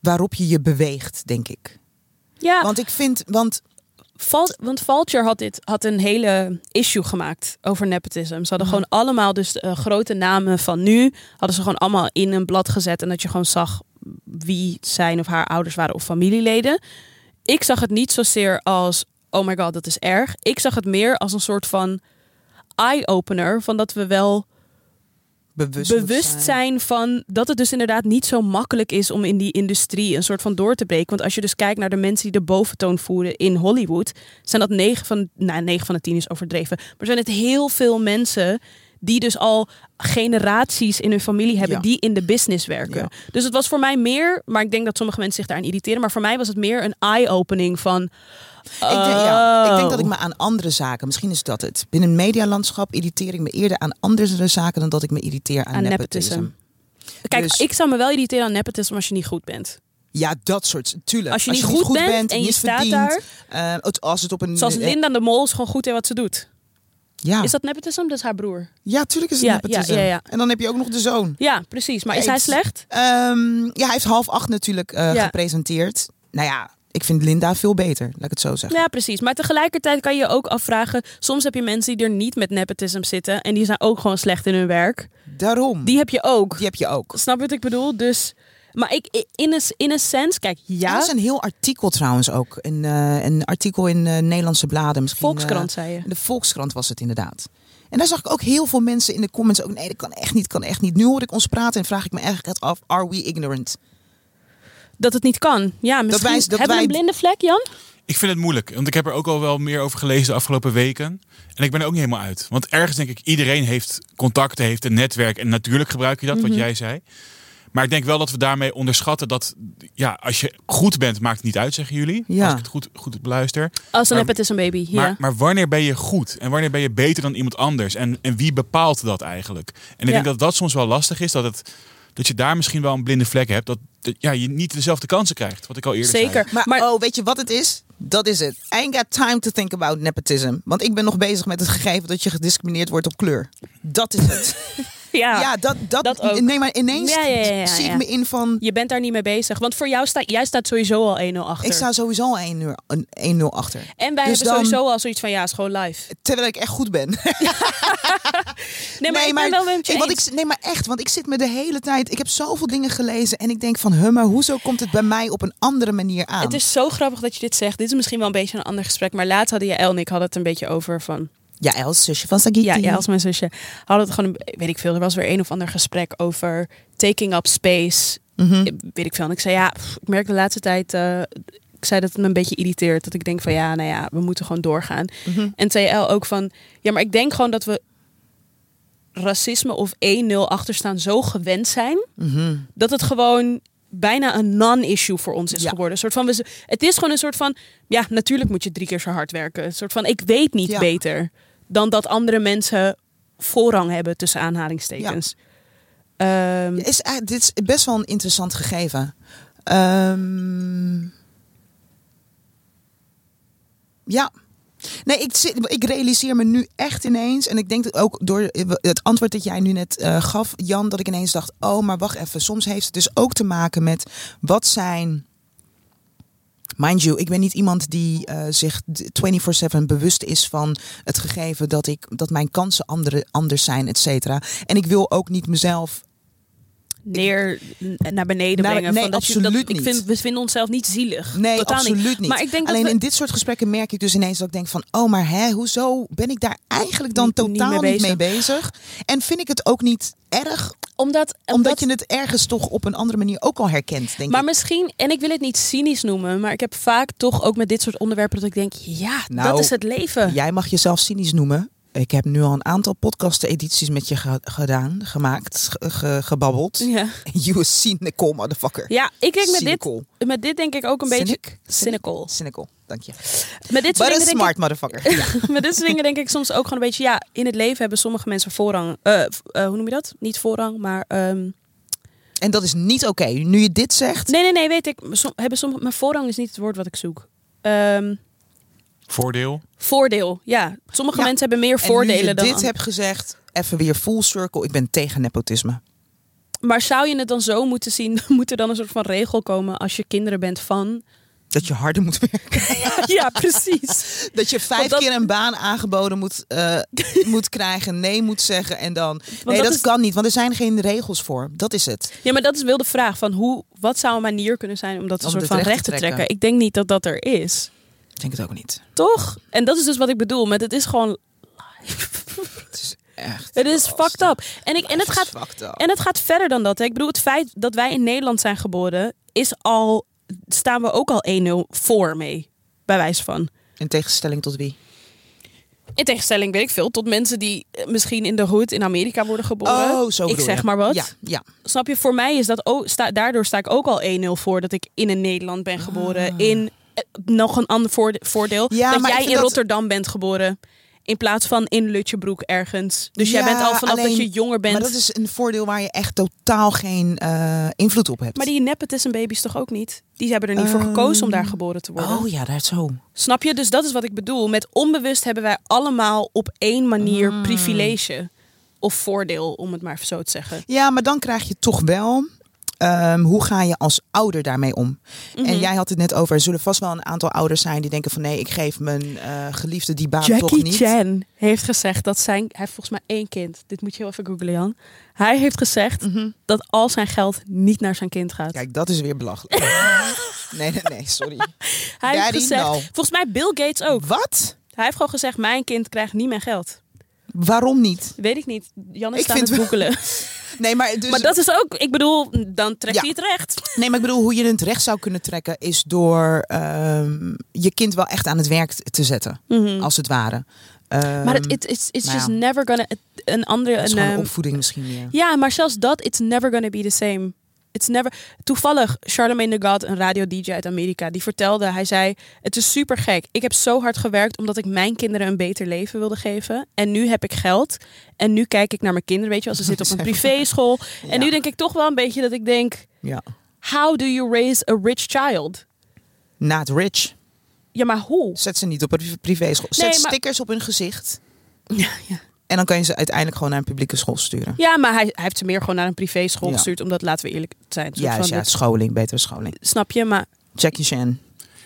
waarop je je beweegt, denk ik. ja, Want ik vind, want Val- want Vulture had, dit, had een hele issue gemaakt over nepotisme. Ze hadden gewoon allemaal, dus eh, grote namen van nu, hadden ze gewoon allemaal in een blad gezet. En dat je gewoon zag wie zijn of haar ouders waren of familieleden. Ik zag het niet zozeer als, oh my god, dat is erg. Ik zag het meer als een soort van eye-opener van dat we wel bewust, moet bewust zijn van dat het dus inderdaad niet zo makkelijk is om in die industrie een soort van door te breken. Want als je dus kijkt naar de mensen die de boventoon voeren in Hollywood, zijn dat negen van, nou, negen van de tien is overdreven, maar zijn het heel veel mensen die dus al generaties in hun familie hebben Ja. die in de business werken. Ja. Dus het was voor mij meer, maar ik denk dat sommige mensen zich daaraan irriteren, maar voor mij was het meer een eye-opening van. Ik denk, ja, ik denk oh. dat ik me aan andere zaken, misschien is dat het. Binnen het medialandschap irriteer ik me eerder aan andere zaken dan dat ik me irriteer aan, Aan nepotisme. nepotisme. Kijk, dus- ik zou me wel irriteren aan nepotisme als je niet goed bent. Ja, dat soort, tuurlijk. Als je niet goed, bent, en je niet staat verdient, daar. eh, het- als het op een... Zoals eh, Ah. Linda de Mol is gewoon goed in wat ze doet. ja. Is dat nepotism? Dat is haar broer. ja, tuurlijk is het Ja, ja, nepotisme. ja, ja. En dan heb je ook nog de zoon. Ja, precies. Maar is Ja, hij ik- slecht? Ehm, ja, hij heeft half acht natuurlijk eh, Ja. gepresenteerd. Nou ja, ik vind Linda veel beter, laat ik het zo zeggen. Ja, precies. Maar tegelijkertijd kan je je ook afvragen... Soms heb je mensen die er niet met nepotism zitten... en die zijn ook gewoon slecht in hun werk. Daarom. Die, Die heb je ook. heb je ook. Snap je wat ik bedoel? Dus... Maar ik, ik- in een, in een sens, kijk, Er ja, is een heel artikel trouwens ook. Een, eh, een artikel in eh, Nederlandse bladen. Misschien, Volkskrant, zei je. eh, de Volkskrant was het inderdaad. En daar zag ik ook heel veel mensen in de comments ook. Nee, dat kan echt niet, kan echt niet. Nu hoor ik ons praten en vraag ik me echt af, are we ignorant? Dat het niet kan. Ja, misschien wij- dat hebben we een wij- blinde vlek, Jan? Ik vind het moeilijk, want ik heb er ook al wel meer over gelezen de afgelopen weken. En ik ben er ook niet helemaal uit. Want ergens denk ik, iedereen heeft contacten, heeft een netwerk. En natuurlijk gebruik je dat, Mhm. wat jij zei. Maar ik denk wel dat we daarmee onderschatten dat, ja, als je goed bent, maakt het niet uit, zeggen jullie. Ja. Als ik het goed, goed beluister. Als een Maar- nepotism baby, ja. Maar, maar wanneer ben je goed? En wanneer ben je beter dan iemand anders? En, en wie bepaalt dat eigenlijk? En ik Ja. denk dat dat soms wel lastig is. Dat, het, dat je daar misschien wel een blinde vlek hebt. Dat, dat- ja, je niet dezelfde kansen krijgt. Wat ik al eerder zei. Zeker. Maar, Maar- oh, weet je wat het is? Dat is het. I ain't got time to think about nepotism. Want ik ben nog bezig met het gegeven dat je gediscrimineerd wordt op kleur. Dat is het. (laughs) ja. Ja, dat, dat, dat ook. Nee, maar ineens Ja, ja, ja, ja, zie ja. ik me in van... Je bent daar niet mee bezig. Want voor jou staat, jij staat sowieso al 1-0 achter. Ik sta sowieso al 1 uur- een 1-0 achter. en wij dus hebben dan- sowieso al zoiets van, ja, is gewoon live. Terwijl ik echt goed ben. Nee, maar ik ben wel met je ik- want eens. ik, Nee, maar echt. Want ik zit me de hele tijd... Ik heb zoveel dingen gelezen en ik denk van... Huh, maar hoezo komt het bij mij op een andere manier aan? Het is zo grappig dat je dit zegt. Dit is misschien wel een beetje een ander gesprek. Maar laatst hadden jij en ik hadden het een beetje over van... Ja, Els, zusje van Sagiti. Ja, ja, als mijn zusje. Hadden het gewoon, een- weet ik veel, er was weer een of ander gesprek over taking up space. Mhm. Ik- Weet ik veel. En ik zei, ja, pff, ik merk de laatste tijd... eh, ik zei dat het me een beetje irriteert. Dat ik denk van, ja, nou ja, we moeten gewoon doorgaan. Mhm. En TL ook van, ja, maar ik denk gewoon dat we racisme of 1-0 achterstaan zo gewend zijn Mhm. dat het gewoon bijna een non-issue voor ons is Ja. geworden. Een soort van, we z- het is gewoon een soort van, ja, natuurlijk moet je drie keer zo hard werken. Een soort van, ik weet niet Ja. beter dan dat andere mensen voorrang hebben tussen aanhalingstekens. Ehm, Ja, Is, eh, dit is best wel een interessant gegeven. Ehm, ja. Nee, ik, zit, ik realiseer me nu echt ineens. En ik denk dat ook door het antwoord dat jij nu net eh, gaf, Jan, dat ik ineens dacht: oh, maar wacht even. Soms heeft het dus ook te maken met wat zijn. Mind you, ik ben niet iemand die eh, zich d- 24-7 bewust is van het gegeven dat, ik, dat mijn kansen andere, anders zijn, et cetera. En ik wil ook niet mezelf neer n- naar beneden Naar- brengen. Nou, nee, van dat je, dat, absoluut Ik niet. vind, we vinden onszelf niet zielig. Nee, Totaal absoluut niet. Maar ik denk dat Alleen we- in dit soort gesprekken merk ik dus ineens dat ik denk van... oh, maar hè, hoezo ben ik daar eigenlijk dan Niet- niet totaal mee niet mee, bezig? En vind ik het ook niet erg, Omdat, omdat je het ergens toch op een andere manier ook al herkent, denk Maar ik. misschien, en ik wil het niet cynisch noemen, maar ik heb vaak toch ook met dit soort onderwerpen dat ik denk, ja, Nou, dat is het leven. Jij mag jezelf cynisch noemen. Ik heb nu al een aantal podcast-edities met je ge- gedaan, gemaakt, ge- ge- gebabbeld. Ja, (laughs) You a cynical motherfucker. ja ik denk met dit, Cynical. met dit denk ik ook een beetje Cynic? cynical. Cynical, dank je. Met dit, soort But a dingen denk smart motherfucker. Ja. ik, met dit soort dingen denk ik soms ook gewoon een beetje, ja, in het leven hebben sommige mensen voorrang. Eh, v- eh, hoe noem je dat? Niet voorrang, maar... ehm, En dat is niet oké. Nu je dit zegt, nee, nee, nee, weet ik. Som, hebben sommige, maar voorrang is niet het woord wat ik zoek. Ehm, Voordeel. voordeel, ja. Sommige Ja. mensen hebben meer en nu je voordelen dan... dit an- hebt gezegd, even weer full circle. Ik ben tegen nepotisme. Maar zou je het dan zo moeten zien? (laughs) Moet er dan een soort van regel komen als je kinderen bent van... Dat je harder moet (laughs) werken. (laughs) ja, precies. Dat je vijf Want dat- keer een baan aangeboden moet, eh, (laughs) moet krijgen. Nee moet zeggen. En dan. Nee, dat dat, is- kan niet. Want er zijn geen regels voor. Dat is het. Ja, maar dat is wel de vraag van hoe, wat zou een manier kunnen zijn om dat een Om soort het van recht te recht te trekken. trekken. Ik denk niet dat dat er is. Ik denk het ook niet. Toch? En dat is dus wat ik bedoel. Met het is gewoon, Het is echt. het is fucked up. En, ik, en, het gaat, Fucked up. en het gaat verder dan dat. hè. Ik bedoel, het feit dat wij in Nederland zijn geboren is al, staan we ook al 1-0 voor mee. Bij wijze van. In tegenstelling tot wie? In tegenstelling, weet ik veel, tot mensen die eh, misschien in de hood in Amerika worden geboren. Oh, zo ik bedoel zeg je. maar wat. Ja, ja. Snap je, voor mij is dat ook, sta, daardoor sta ik ook al 1-0 voor dat ik in een Nederland ben geboren. In eh, nog een ander voorde- voordeel. Ja, dat maar ik jij in vind dat- Rotterdam bent geboren. In plaats van in Lutjebroek ergens. Dus jij Ja, bent al vanaf dat alleen- je jonger bent. Maar Maar, dat is een voordeel waar je echt totaal geen eh, invloed op hebt. die nepotism baby's toch ook niet? Die hebben er niet voor Ehm, gekozen om daar geboren te worden. Oh ja, daar zo. Snap je? Dus dat is wat ik bedoel. Met onbewust hebben wij allemaal op één manier Mm. privilege. Of voordeel, om het maar even zo te zeggen. Ja, maar dan krijg je toch wel. ehm, hoe ga je als ouder daarmee om? Mhm. En jij had het net over. Er zullen vast wel een aantal ouders zijn die denken: van nee, ik geef mijn eh, geliefde die baan toch Jackie niet. Chan heeft gezegd dat zijn. Hij heeft volgens mij één kind. Dit moet je heel even googlen, Jan. Hij heeft gezegd dat al zijn geld niet naar zijn kind gaat. Mhm. Kijk, dat is weer (laughs) belachelijk. nee, nee, nee, sorry. hij heeft Daddy, gezegd. no. Volgens mij Bill Gates ook. Wat? Hij heeft gewoon gezegd: Mijn kind krijgt niet mijn geld. Waarom niet? Weet ik niet. Jan is Ik aan vind het wel- googelen. Nee, maar, dus, (laughs) maar dat is ook. Ik bedoel, dan trekt Ja. hij het recht. nee, maar ik bedoel, hoe je het recht zou kunnen trekken is door ehm, je kind wel echt aan het werk t- te zetten, als het ware. Ehm, Mhm. maar het it, it's, it's maar just ja. never gonna. het- Een andere. dat is een, gewoon ehm, opvoeding misschien meer. Ja, maar zelfs dat, it's never gonna be the same. It's never... Toevallig, Charlemagne the God, een radio-dj uit Amerika, die vertelde, hij zei... Het is super gek. Ik heb zo hard gewerkt omdat ik mijn kinderen een beter leven wilde geven. En nu heb ik geld. En nu kijk ik naar mijn kinderen, weet je wel. (laughs) Ze zitten op een privéschool. En nu denk ik toch wel een beetje dat ik denk... Ja. How do you raise a rich child? Not rich. Ja, maar hoe? (laughs) Zet ze niet op een privé school. Zet Nee, maar- stickers op hun gezicht. Ja, ja. En dan kan je ze uiteindelijk gewoon naar een publieke school sturen. Ja, maar hij, hij heeft ze meer gewoon naar een privéschool Ja. gestuurd. Omdat, laten we eerlijk zijn. een soort Ja, van, ja, dat- scholing, betere scholing. Snap je? Maar Check je Shan.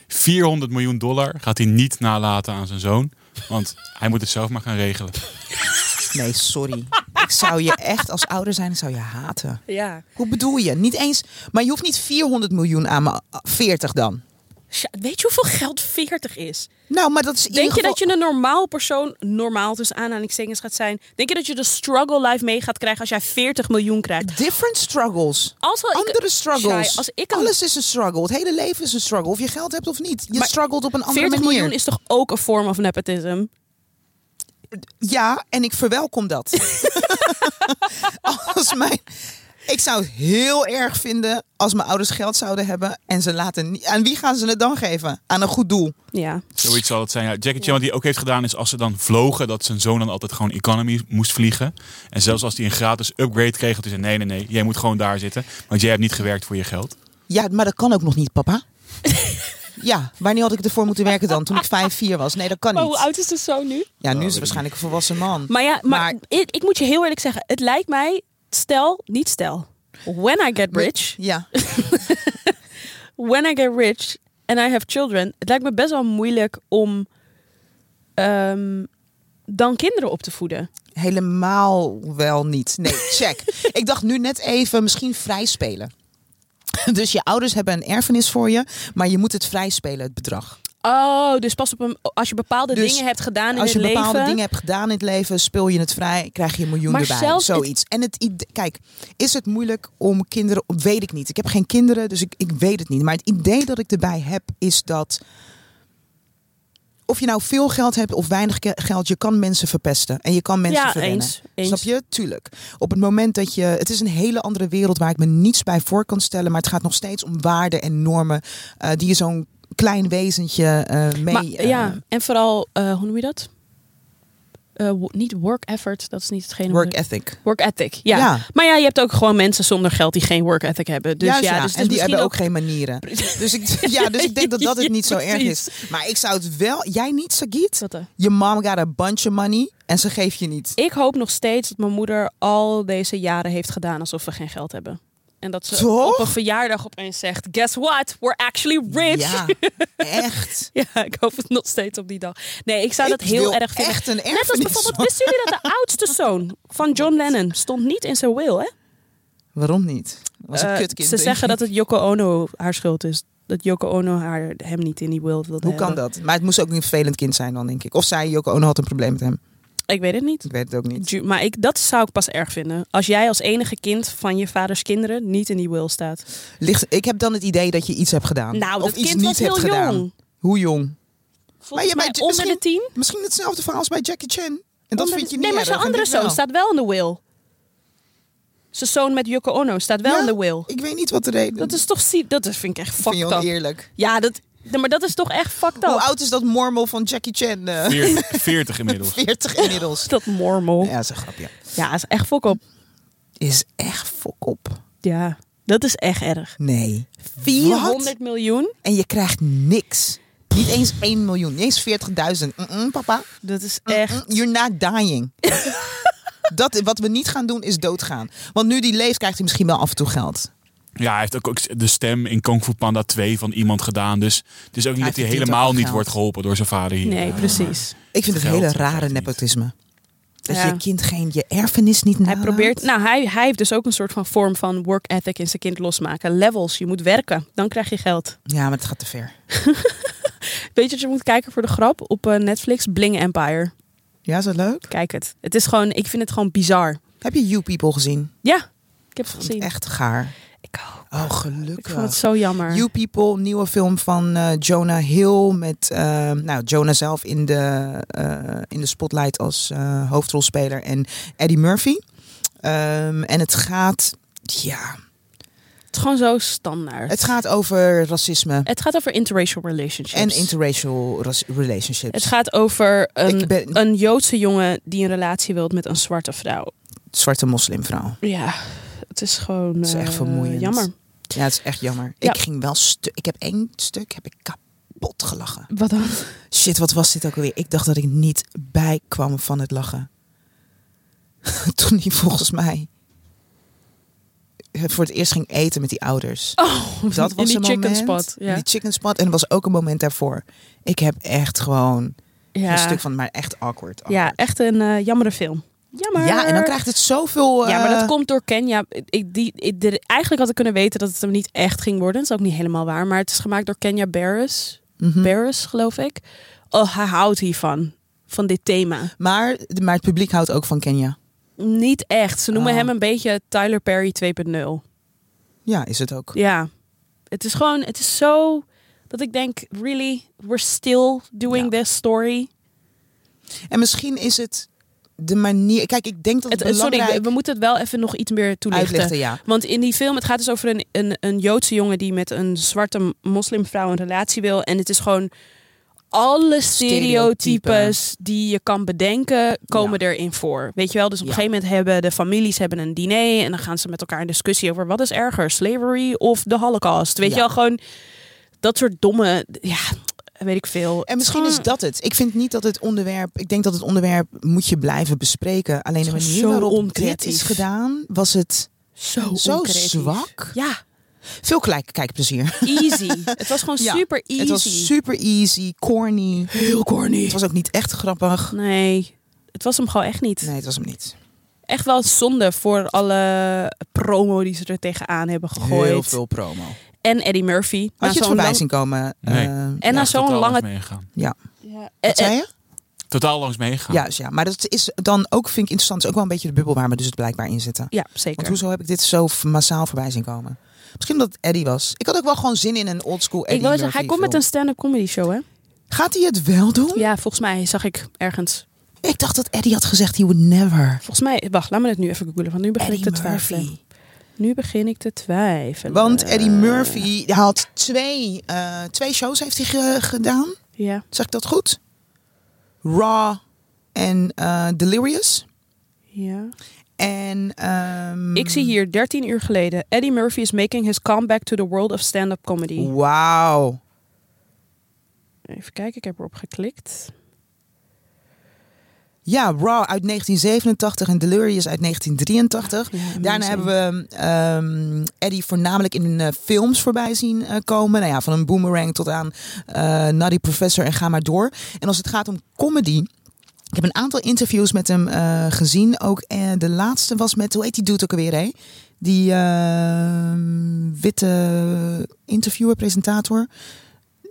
400 miljoen dollar gaat hij niet nalaten aan zijn zoon. Want hij moet het zelf maar gaan regelen. Nee, (laughs) sorry. ik zou je echt als ouder zijn, ik zou je haten. ja. Hoe bedoel je? Niet eens. Maar je hoeft niet 400 miljoen aan, maar 40 dan. Sja, Weet je hoeveel geld 40 is? Nou, maar dat is. in Denk ieder je geval... dat je een normaal persoon, normaal tussen aanhalingstekens gaat zijn? Denk je dat je de struggle life mee gaat krijgen als jij 40 miljoen krijgt? Different struggles. Als wel ik- Andere struggles. Shai, als ik een- Alles is een struggle. Het hele leven is een struggle. Of je geld hebt of niet. Je Maar struggelt op een andere 40 manier. miljoen is toch ook een vorm van nepotism? Ja, en ik verwelkom (laughs) dat. als mijn... Ik zou het heel erg vinden als mijn ouders geld zouden hebben en ze laten niet. Aan wie gaan ze het dan geven? Aan een goed doel. Ja. Zoiets zal het zijn. Ja, Jackie Chan, wat hij ook heeft gedaan, is als ze dan vlogen, dat zijn zoon dan altijd gewoon economy moest vliegen. En zelfs als hij een gratis upgrade kreeg, dat hij zei: nee, nee, nee, jij moet gewoon daar zitten. Want jij hebt niet gewerkt voor je geld. Ja, maar dat kan ook nog niet, papa. (laughs) ja, wanneer had ik ervoor moeten werken dan? Toen ik vijf, vier was. Nee, dat kan Maar hoe niet. oud is de zoon nu? Ja, nu is het waarschijnlijk een volwassen man. Maar ja, maar, Maar- ik, ik moet je heel eerlijk zeggen, het lijkt mij, stel, niet stel. When I get rich, Ja, when I get rich and I have children, het lijkt me best wel moeilijk om ehm, dan kinderen op te voeden. helemaal wel niet. Nee, check. ik dacht nu net even misschien vrij spelen. (laughs) Dus je ouders hebben een erfenis voor je, maar je moet het vrij spelen, het bedrag. Oh, dus pas op een, als je bepaalde Dus dingen hebt gedaan in Als je het bepaalde leven. dingen hebt gedaan in het leven, speel je het vrij, krijg je een miljoen Maar erbij. zelfs het- Zoiets. En het ide- kijk, is het moeilijk om kinderen. Weet ik niet. Ik heb geen kinderen, dus ik, ik weet het niet. Maar het idee dat ik erbij heb, is dat. Of je nou veel geld hebt of weinig ge- geld, je kan mensen verpesten. En je kan mensen ja, verwennen. eens, eens. Snap je? Tuurlijk. Op het moment dat je. Het is een hele andere wereld waar ik me niets bij voor kan stellen. Maar het gaat nog steeds om waarden en normen. eh, die je zo'n klein wezentje eh, mee. Maar, eh, ja, en vooral, eh, hoe noem je dat? Eh, wo- niet work effort, dat is niet hetgene. wat eh, work ik- ethic. work ethic, ja. Ja. Maar ja, je hebt ook gewoon mensen zonder geld die geen work ethic hebben. Dus Juist, ja, dus het en die is misschien hebben ook ook geen (laughs) manieren. Dus ik, ja, dus ik denk dat dat het niet zo erg is. Maar ik zou het wel... Jij niet, Sagit? Wat, eh? Je mom got a bunch of money en ze geeft je niet. Ik hoop nog steeds dat mijn moeder al deze jaren heeft gedaan alsof we geen geld hebben. En dat ze Toch? op een verjaardag opeens zegt: Guess what? We're actually rich. Ja, echt. (laughs) Ja, ik hoop het nog steeds op die dag. Nee, ik zou Ik dat heel wil erg vinden. echt een Net als erfenis, bijvoorbeeld, man. wisten jullie dat (laughs) de oudste zoon van John Lennon stond niet in zijn will, hè? Waarom niet? Was een Eh, kutkind. dus. ze denk zeggen ik. dat het Yoko Ono haar schuld is. Dat Yoko Ono haar, hem niet in die will wilde Hoe kan hebben. dat? Maar het moest ook een vervelend kind zijn dan, denk ik. Of zij, Joko Ono, had een probleem met hem. Ik weet het niet. Ik weet het ook niet. Ju- Maar ik, dat zou ik pas erg vinden. Als jij als enige kind van je vaders kinderen niet in die will staat. Ligt, ik heb dan het idee dat je iets hebt gedaan. Nou, of dat iets kind niet was hebt heel gedaan. jong. Hoe jong? Volgens je mij bent onder misschien- de tien. Misschien hetzelfde verhaal als bij Jackie Chan. En dat Onder vind de- je niet Nee, maar erg, zijn en andere dit zoon wel. staat wel in de will. Zijn zoon met Yoko Ono staat wel Ja, in de will. Ik weet niet wat de reden Dat is toch... zie- Dat is- vind ik echt Vind je fucked up. oneerlijk. Ja, dat, nee, maar dat is toch echt fucked Hoe up. oud is dat mormel van Jackie Chan? eh? (laughs) 40, 40 inmiddels. 40 inmiddels. Dat mormel. Ja, dat is een grapje. Ja, dat is echt fok op. Is echt fok op. Ja, dat is echt erg. Nee. 400 Wat? miljoen. En je krijgt niks. Niet eens 1 miljoen. Niet eens 40.000. Mm-mm, papa. Dat is Mm, echt... You're not (laughs) dying. Dat, wat we niet gaan doen is doodgaan. Want nu die leeft krijgt hij misschien wel af en toe geld. Ja, hij heeft ook- ook de stem in Kung Fu Panda 2 van iemand gedaan. Dus het is Hij ook niet dat hij verdient ook helemaal wel niet geld. wordt geholpen door zijn vader hier. Nee, Ja. precies. Ik vind het Geld hele krijgt hij rare niet. nepotisme. Dat Ja. je kind geen je erfenis niet Hij nalaat. probeert... Nou, hij, hij heeft dus ook een soort van vorm van work ethic in zijn kind losmaken. Levels. Je moet werken. Dan krijg je geld. Ja, maar het gaat te ver. Weet je dat je moet kijken voor de grap? Op eh, Netflix Bling Empire. Ja, is dat leuk? Kijk het. Het is gewoon... Ik vind het gewoon bizar. Heb je You People gezien? Ja, ik Ik heb het vond het gezien. Echt gaar. Ik ook. Oh, Ik gelukkig. vond het zo jammer. You People, nieuwe film van eh, Jonah Hill. Met eh, nou, Jonah zelf in de, eh, in de spotlight als eh, hoofdrolspeler en Eddie Murphy. Ehm, en het gaat, ja, Het is gewoon zo standaard. het gaat over racisme Het gaat over interracial relationships. en interracial ras- relationships. het gaat over Ik een, ben- een Joodse jongen die een relatie wil met een zwarte vrouw. Zwarte moslimvrouw. Ja, het is gewoon Het is echt eh, vermoeiend. jammer. Ja, het is echt jammer. Ja. Ik ging wel stu- Ik heb één stuk, heb ik kapot gelachen. Wat dan? Shit, wat was dit ook alweer? Ik dacht dat ik niet bij kwam van het lachen. (laughs) Toen die volgens mij eh, voor het eerst ging eten met die ouders. Oh, Dat was in een die chicken moment. spot. in Ja. Die chicken spot. En er was ook een moment daarvoor. Ik heb echt gewoon ja. een stuk van, maar echt awkward. ja, echt een eh jammere film. Jammer. Ja, en dan krijgt het zoveel... Ja, maar eh, dat komt door Kenya. Ik, die, ik- de- eigenlijk had ik kunnen weten dat het hem niet echt ging worden. Dat is ook niet helemaal waar. Maar het is gemaakt door Kenya Barris. mhm. Barris, geloof ik. Oh, hij houdt hiervan. Van dit thema. Maar, maar het publiek houdt ook van Kenya. Niet echt. Ze noemen Oh. hem een beetje Tyler Perry 2.0. Ja, is het ook. Ja. Het is gewoon, het is zo dat ik denk, really, we're still doing this story. En misschien is het de manier... Kijk, ik denk dat het, Het, eh, sorry, belangrijk... we, we moeten het wel even nog iets meer toelichten. Uitlichten, ja. Want in die film, het gaat dus over een, een, een Joodse jongen die met een zwarte moslimvrouw een relatie wil. En het is gewoon alle stereotypes die je kan bedenken, komen erin voor. Weet je wel, dus op een Ja. gegeven moment hebben de families hebben een diner en dan gaan ze met elkaar in discussie over wat is erger, slavery of de holocaust. Weet Ja. je wel, gewoon dat soort domme, ja, weet ik veel. En misschien is dat het. Ik vind niet dat het onderwerp. Ik denk dat het onderwerp moet je blijven bespreken. Alleen de Het is manier zo waarop dit onkritisch. is gedaan, was het zo, zo oncreatief. zwak. Ja, Veel gelijk kijkplezier. (laughs) easy. het was gewoon Ja, super easy. Het was super easy, corny. heel corny. Het was ook niet echt grappig. Nee, het was hem gewoon echt niet. Nee, het was hem niet. Echt wel zonde voor alle promo die ze er tegenaan hebben gegooid. Heel veel promo. En Eddie Murphy. Na Had je het zo'n voorbij lang- zien komen? Nee. Eh, En na eh, zo'n totaal lange... langs meegegaan. Ja. wat zei je? Totaal langs meegegaan. Juist, ja. Maar dat is dan ook, vind ik interessant, is ook wel een beetje de bubbel waar we dus het blijkbaar in zitten. Ja, zeker. Want hoezo heb ik dit zo f- massaal voorbij zien komen? Misschien omdat het Eddie was. Ik had ook wel gewoon zin in een oldschool Eddie ik wil zeggen, hij Murphy komt met film. een stand-up comedy show, hè? Gaat hij het wel doen? Ja, volgens mij zag ik ergens. Ik dacht dat Eddie had gezegd, he would never. Volgens mij, wacht, laat me het nu even googelen, want nu begin Eddie ik eh, te twijfelen. Murphy. Nu begin ik te twijfelen. Want Eddie Murphy had twee, eh, twee shows heeft hij ge- gedaan. Ja, Zeg ik dat goed? Raw en eh, Delirious. ja. En, ehm, Ik zie hier 13 uur geleden. Eddie Murphy is making his comeback to the world of stand-up comedy. Wauw. Even kijken, ik heb erop geklikt. Ja, Raw uit 1987 en Delirious uit 1983. Ja, Daarna amazing. hebben we ehm, Eddie voornamelijk in eh, films voorbij zien eh, komen. Nou ja, van een boomerang tot aan eh Nutty Professor en ga maar door. En als het gaat om comedy. Ik heb een aantal interviews met hem eh, gezien. Ook eh, de laatste was met, hoe heet die dude ook alweer? Hè? Die ehm, witte interviewer, presentator.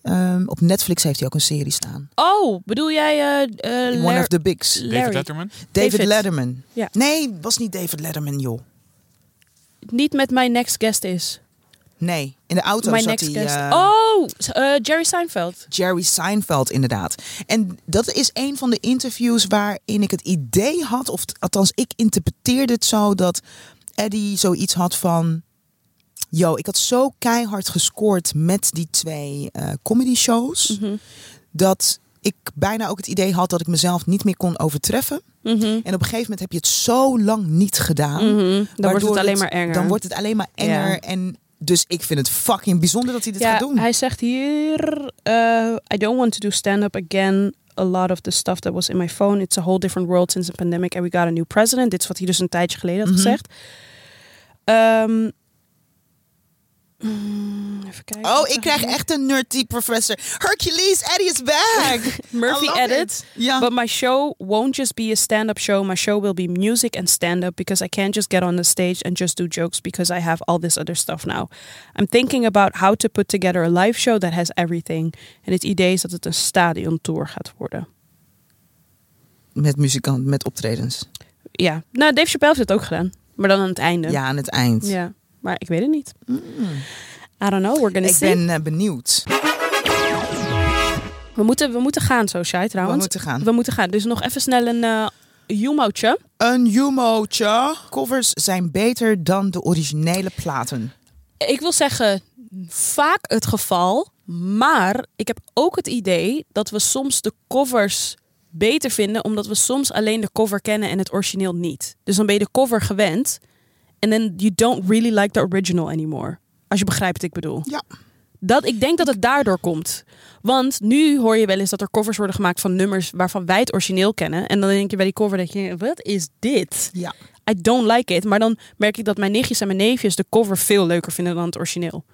Ehm, op Netflix heeft hij ook een serie staan. Oh, bedoel jij eh, eh, One Lar- of the Bigs. David Larry. Letterman. David, David. Letterman. Ja. Nee, was niet David Letterman, joh. niet met mijn next guest is. Nee, in de auto Mijn zat next hij... guest. eh, oh, s- eh, Jerry Seinfeld. Jerry Seinfeld, inderdaad. En dat is een van de interviews waarin ik het idee had, of t- althans, ik interpreteerde het zo dat Eddie zoiets had van. Yo, ik had zo keihard gescoord met die twee eh, comedy shows. Mhm. Dat ik bijna ook het idee had dat ik mezelf niet meer kon overtreffen. En op een gegeven moment heb je het zo lang niet gedaan. Mhm. Dan wordt waardoor het alleen maar enger. Dan wordt het alleen maar enger. Ja. En dus ik vind het fucking bijzonder dat hij dit ja, gaat doen. hij zegt hier... eh, I don't want to do stand-up again. A lot of the stuff that was in my phone. It's a whole different world since the pandemic and we got a new president. Dit is wat hij dus een tijdje geleden had Mhm. gezegd. Ehm, mm, even kijken. Oh, wat ik zag krijg hier? echt een nerdy professor. Hercules, Eddie is (laughs) back. I Murphy love edit. it. Ja. But my show won't just be a stand up show. My show will be music and stand up because I can't just get on the stage and just do jokes because I have all this other stuff now. I'm thinking about how to put together a live show that has everything. En het idee is dat het een stadiontour gaat worden. Met muzikant, met optredens. Ja, nou, Dave Chappelle heeft het ook gedaan. Maar dan aan het einde. Ja, aan het eind. Ja. Maar ik weet het niet. Mm. I don't know. We're gonna Ik see. ben eh, benieuwd. We, moeten, we moeten gaan zo, Shai, We trouwens. moeten gaan. We moeten gaan. Dus nog even snel een eh humootje. Een humootje. Covers zijn beter dan de originele platen. ik wil zeggen, vaak het geval. Maar ik heb ook het idee dat we soms de covers beter vinden. Omdat we soms alleen de cover kennen en het origineel niet. Dus dan ben je de cover gewend. En then you don't really like the original anymore. Als je begrijpt wat ik bedoel. Ja. Dat, ik denk dat het daardoor komt. Want nu hoor je wel eens dat er covers worden gemaakt van nummers waarvan wij het origineel kennen. En dan denk je bij die cover, dat je, wat is dit? Ja. I don't like it. Maar dan merk ik dat mijn nichtjes en mijn neefjes de cover veel leuker vinden dan het origineel.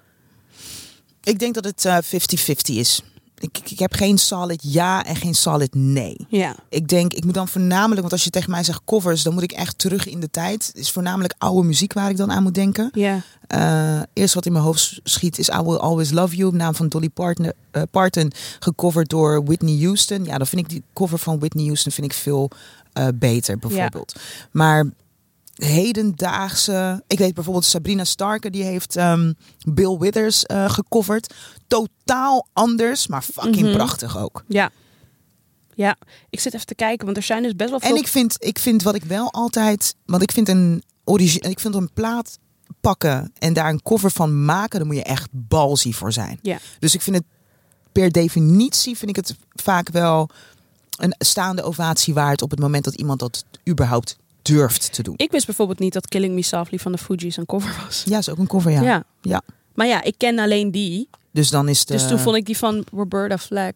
Ik denk dat het eh, 50-50 is. Ik, ik, ik heb geen solid ja en geen solid nee. Ja. Ik denk, ik moet dan voornamelijk, want als je tegen mij zegt covers, dan moet ik echt terug in de tijd. Het is voornamelijk oude muziek waar ik dan aan moet denken. Ja. Eh, eerst wat in mijn hoofd schiet is I Will Always Love You, op naam van Dolly Parton, eh, Parton, gecoverd door Whitney Houston. Ja, dan vind ik die cover van Whitney Houston vind ik veel eh, beter, bijvoorbeeld. Maar hedendaagse, ik weet bijvoorbeeld Sabrina Starke, die heeft ehm, Bill Withers eh, gecoverd. Totaal anders, maar fucking Mhm. prachtig ook. Ja. Ja. Ik zit even te kijken, want er zijn dus best wel veel... En ik vind, ik vind wat ik wel altijd. Want ik vind een origi- ik vind een plaat pakken en daar een cover van maken, daar moet je echt balzie voor zijn. Ja. Dus ik vind het per definitie vind ik het vaak wel een staande ovatie waard op het moment dat iemand dat überhaupt durft te doen. Ik wist bijvoorbeeld niet dat Killing Me Softly van de Fugees een cover was. Ja, is ook een cover, ja. ja. Ja. Maar ja, ik ken alleen die. Dus dan is het Dus eh, toen vond ik die van Roberta Flack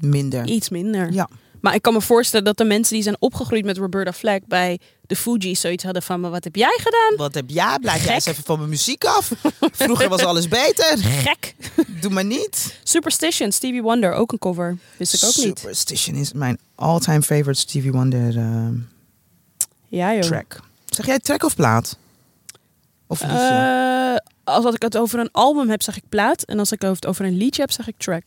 minder. iets minder. Ja. Maar ik kan me voorstellen dat de mensen die zijn opgegroeid met Roberta Flack bij de Fugees zoiets hadden van, maar wat heb jij gedaan? Wat heb jij? Blijf jij eens Gek. even van mijn muziek af. Vroeger was alles beter. (laughs) Gek. Doe maar niet. Superstition, Stevie Wonder, ook een cover. Wist ik ook niet. Superstition is mijn all-time favorite Stevie Wonder. eh, Ja joh. track. Zeg jij track of plaat? Of Eh, liedje? als dat ik het over een album heb, zeg ik plaat. En als ik het over een liedje heb, zeg ik track.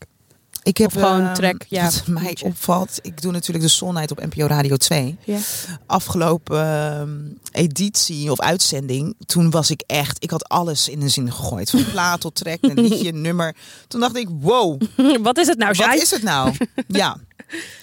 ik heb of gewoon ehm, track, ja, Wat mij liedje. opvalt, ik doe natuurlijk de Solnight op NPO Radio 2. Ja. Afgelopen ehm, editie of uitzending, toen was ik echt, ik had alles in een zin gegooid. (laughs) Van plaat tot track, een liedje, een nummer. Toen dacht ik, wow, (laughs) wat is het nou, wat Jai? is het nou? ja,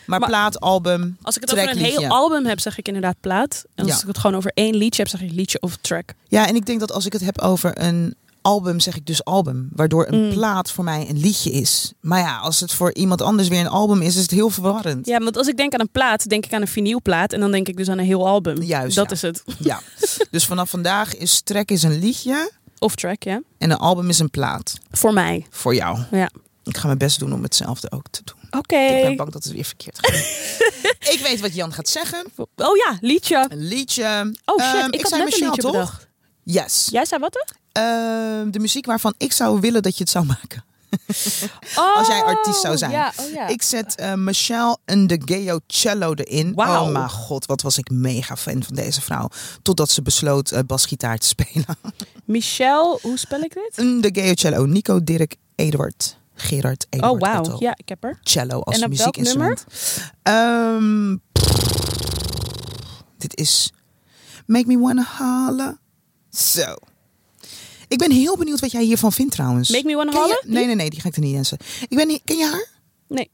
maar, Maar- plaat, album, Als ik het track, over een liedje. heel album heb, zeg ik inderdaad plaat. En als Ja. ik het gewoon over één liedje heb, zeg ik liedje of track. Ja, en ik denk dat als ik het heb over een album, zeg ik dus album. Waardoor een Mm. plaat voor mij een liedje is. Maar ja, als het voor iemand anders weer een album is, is het heel verwarrend. Ja, want als ik denk aan een plaat, denk ik aan een vinylplaat. En dan denk ik dus aan een heel album. Juist, Dat ja. is het. Ja. dus vanaf vandaag is track is een liedje Of track, ja. en een album is een plaat Voor mij. voor jou. Ja. Ik ga mijn best doen om hetzelfde ook te doen. Oké. Ik ben bang dat het weer verkeerd gaat. (laughs) ik weet wat Jan gaat zeggen. Oh ja, liedje. Een liedje. Oh shit, Ehm, ik, zei had net een Michelle, liedje toch? bedacht. Yes. Jij zei wat dan? Ehm, de muziek waarvan ik zou willen dat je het zou maken. Oh, Als jij artiest zou zijn. Ja, oh ja. Ik zet eh, Michelle Ndegeo Cello erin. Wauw. Oh mijn god, wat was ik mega fan van deze vrouw. Totdat ze besloot eh, basgitaar te (laughs) spelen. Michelle, hoe spel ik dit? Ndegeo Cello, Nico, Dirk, Eduard, Gerard, Oh Eduard, wauw, Otto. ja, ik heb er. Cello als En op welk muziekinstrument. Ehm, dit is Make Me Wanna Halen. Zo. Ik ben heel benieuwd wat jij hiervan vindt trouwens. Make Me Wanna Ken je- Halen? Nee, nee, nee, die ga ik er niet in zetten. Ik ben niet, ken je haar? Nee.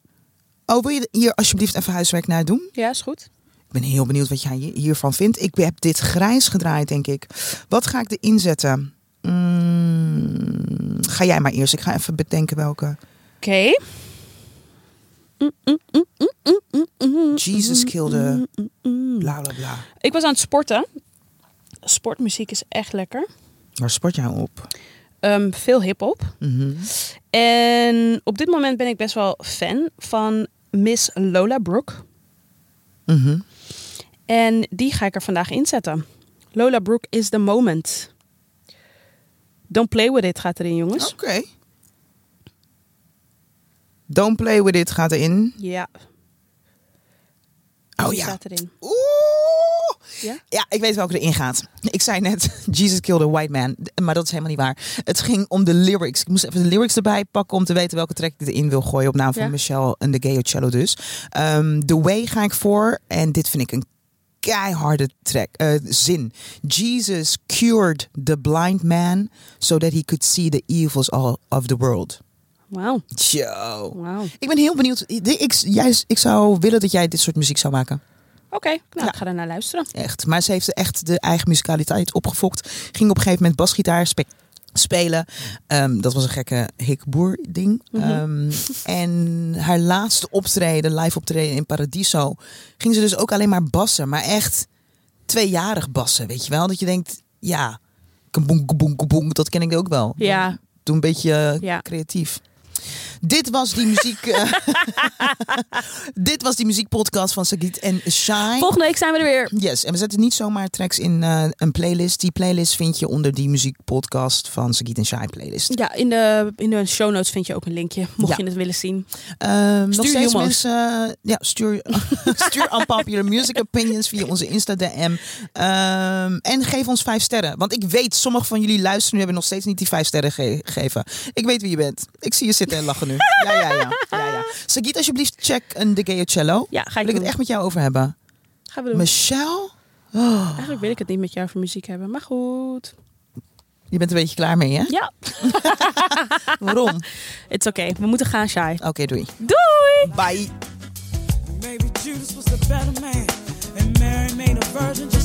Oh, wil je hier alsjeblieft even huiswerk naar doen? Ja, is goed. Ik ben heel benieuwd wat jij hiervan vindt. Ik heb dit grijs gedraaid, denk ik. Wat ga ik erin zetten? Mm, ga jij maar eerst. Ik ga even bedenken welke. Oké. Mm, Jesus kill the bla bla bla. Ik was aan het sporten. Sportmuziek is echt lekker. Waar sport jij op? Ehm, veel hip-hop. Mhm. En op dit moment ben ik best wel fan van Miss Lola Brooke. Mhm. En die ga ik er vandaag inzetten. Lola Brooke is the moment. Don't play with it gaat erin, jongens. Oké. Don't play with it gaat erin. Ja. Oh die ja. Staat erin. Oeh. Ja? Ja, ik weet welke erin gaat. Ik zei net, (laughs) Jesus killed a white man. Maar dat is helemaal niet waar. Het ging om de lyrics. Ik moest even de lyrics erbij pakken om te weten welke track ik erin wil gooien. Op naam van Ja. Michelle en de Gayo Cello dus. Ehm The Way ga ik voor. En dit vind ik een keiharde track, eh, zin. Jesus cured the blind man so that he could see the evils all of the world. Wauw. Yo. Wauw. Oké, Ik ben heel benieuwd. Ik, jij, ik zou willen dat jij dit soort muziek zou maken. nou Ja. ik ga daarna luisteren. Echt. Maar ze heeft echt de eigen musicaliteit opgefokt. Ging op een gegeven moment basgitaar spe- spelen. Ehm, dat was een gekke hikboer ding. Mhm. Ehm, en haar laatste optreden, live optreden in Paradiso, ging ze dus ook alleen maar bassen. Maar echt tweejarig bassen, weet je wel? Dat je denkt, ja, kaboeng, kaboeng, kaboeng, dat ken ik ook wel. Ja. Doe een beetje eh, Ja. creatief. Dit was die muziek. eh, (laughs) dit was die muziekpodcast van Sagit en Shine. Volgende week zijn we er weer. Yes, en we zetten niet zomaar tracks in eh, een playlist. Die playlist vind je onder die muziekpodcast van Sagit en Shine playlist. Ja, in de, in de show notes vind je ook een linkje, mocht Ja. je het willen zien. Ehm, nog Stuur steeds humo's. mensen, eh, ja, stuur, (laughs) stuur unpopular music opinions via onze Insta DM. Ehm, en geef ons vijf sterren. Want ik weet, sommige van jullie luisteren nu hebben nog steeds niet die vijf sterren ge- gegeven. Ik weet wie je bent. Ik zie je zitten en lachen nu. Ja, ja, ja. ja, ja. Sagit, alsjeblieft, check een De Gayo Cello. Ja, ga ik Wil ik het doen. echt met jou over hebben. Gaan we doen. Michelle, Eigenlijk wil ik het niet met jou voor muziek hebben, maar goed. je bent een beetje klaar mee, hè? Ja, Waarom? it's oké. We moeten gaan, Shai. Oké, doei. Doei! Bye. Maybe Judas was the better man, and Mary made a virgin.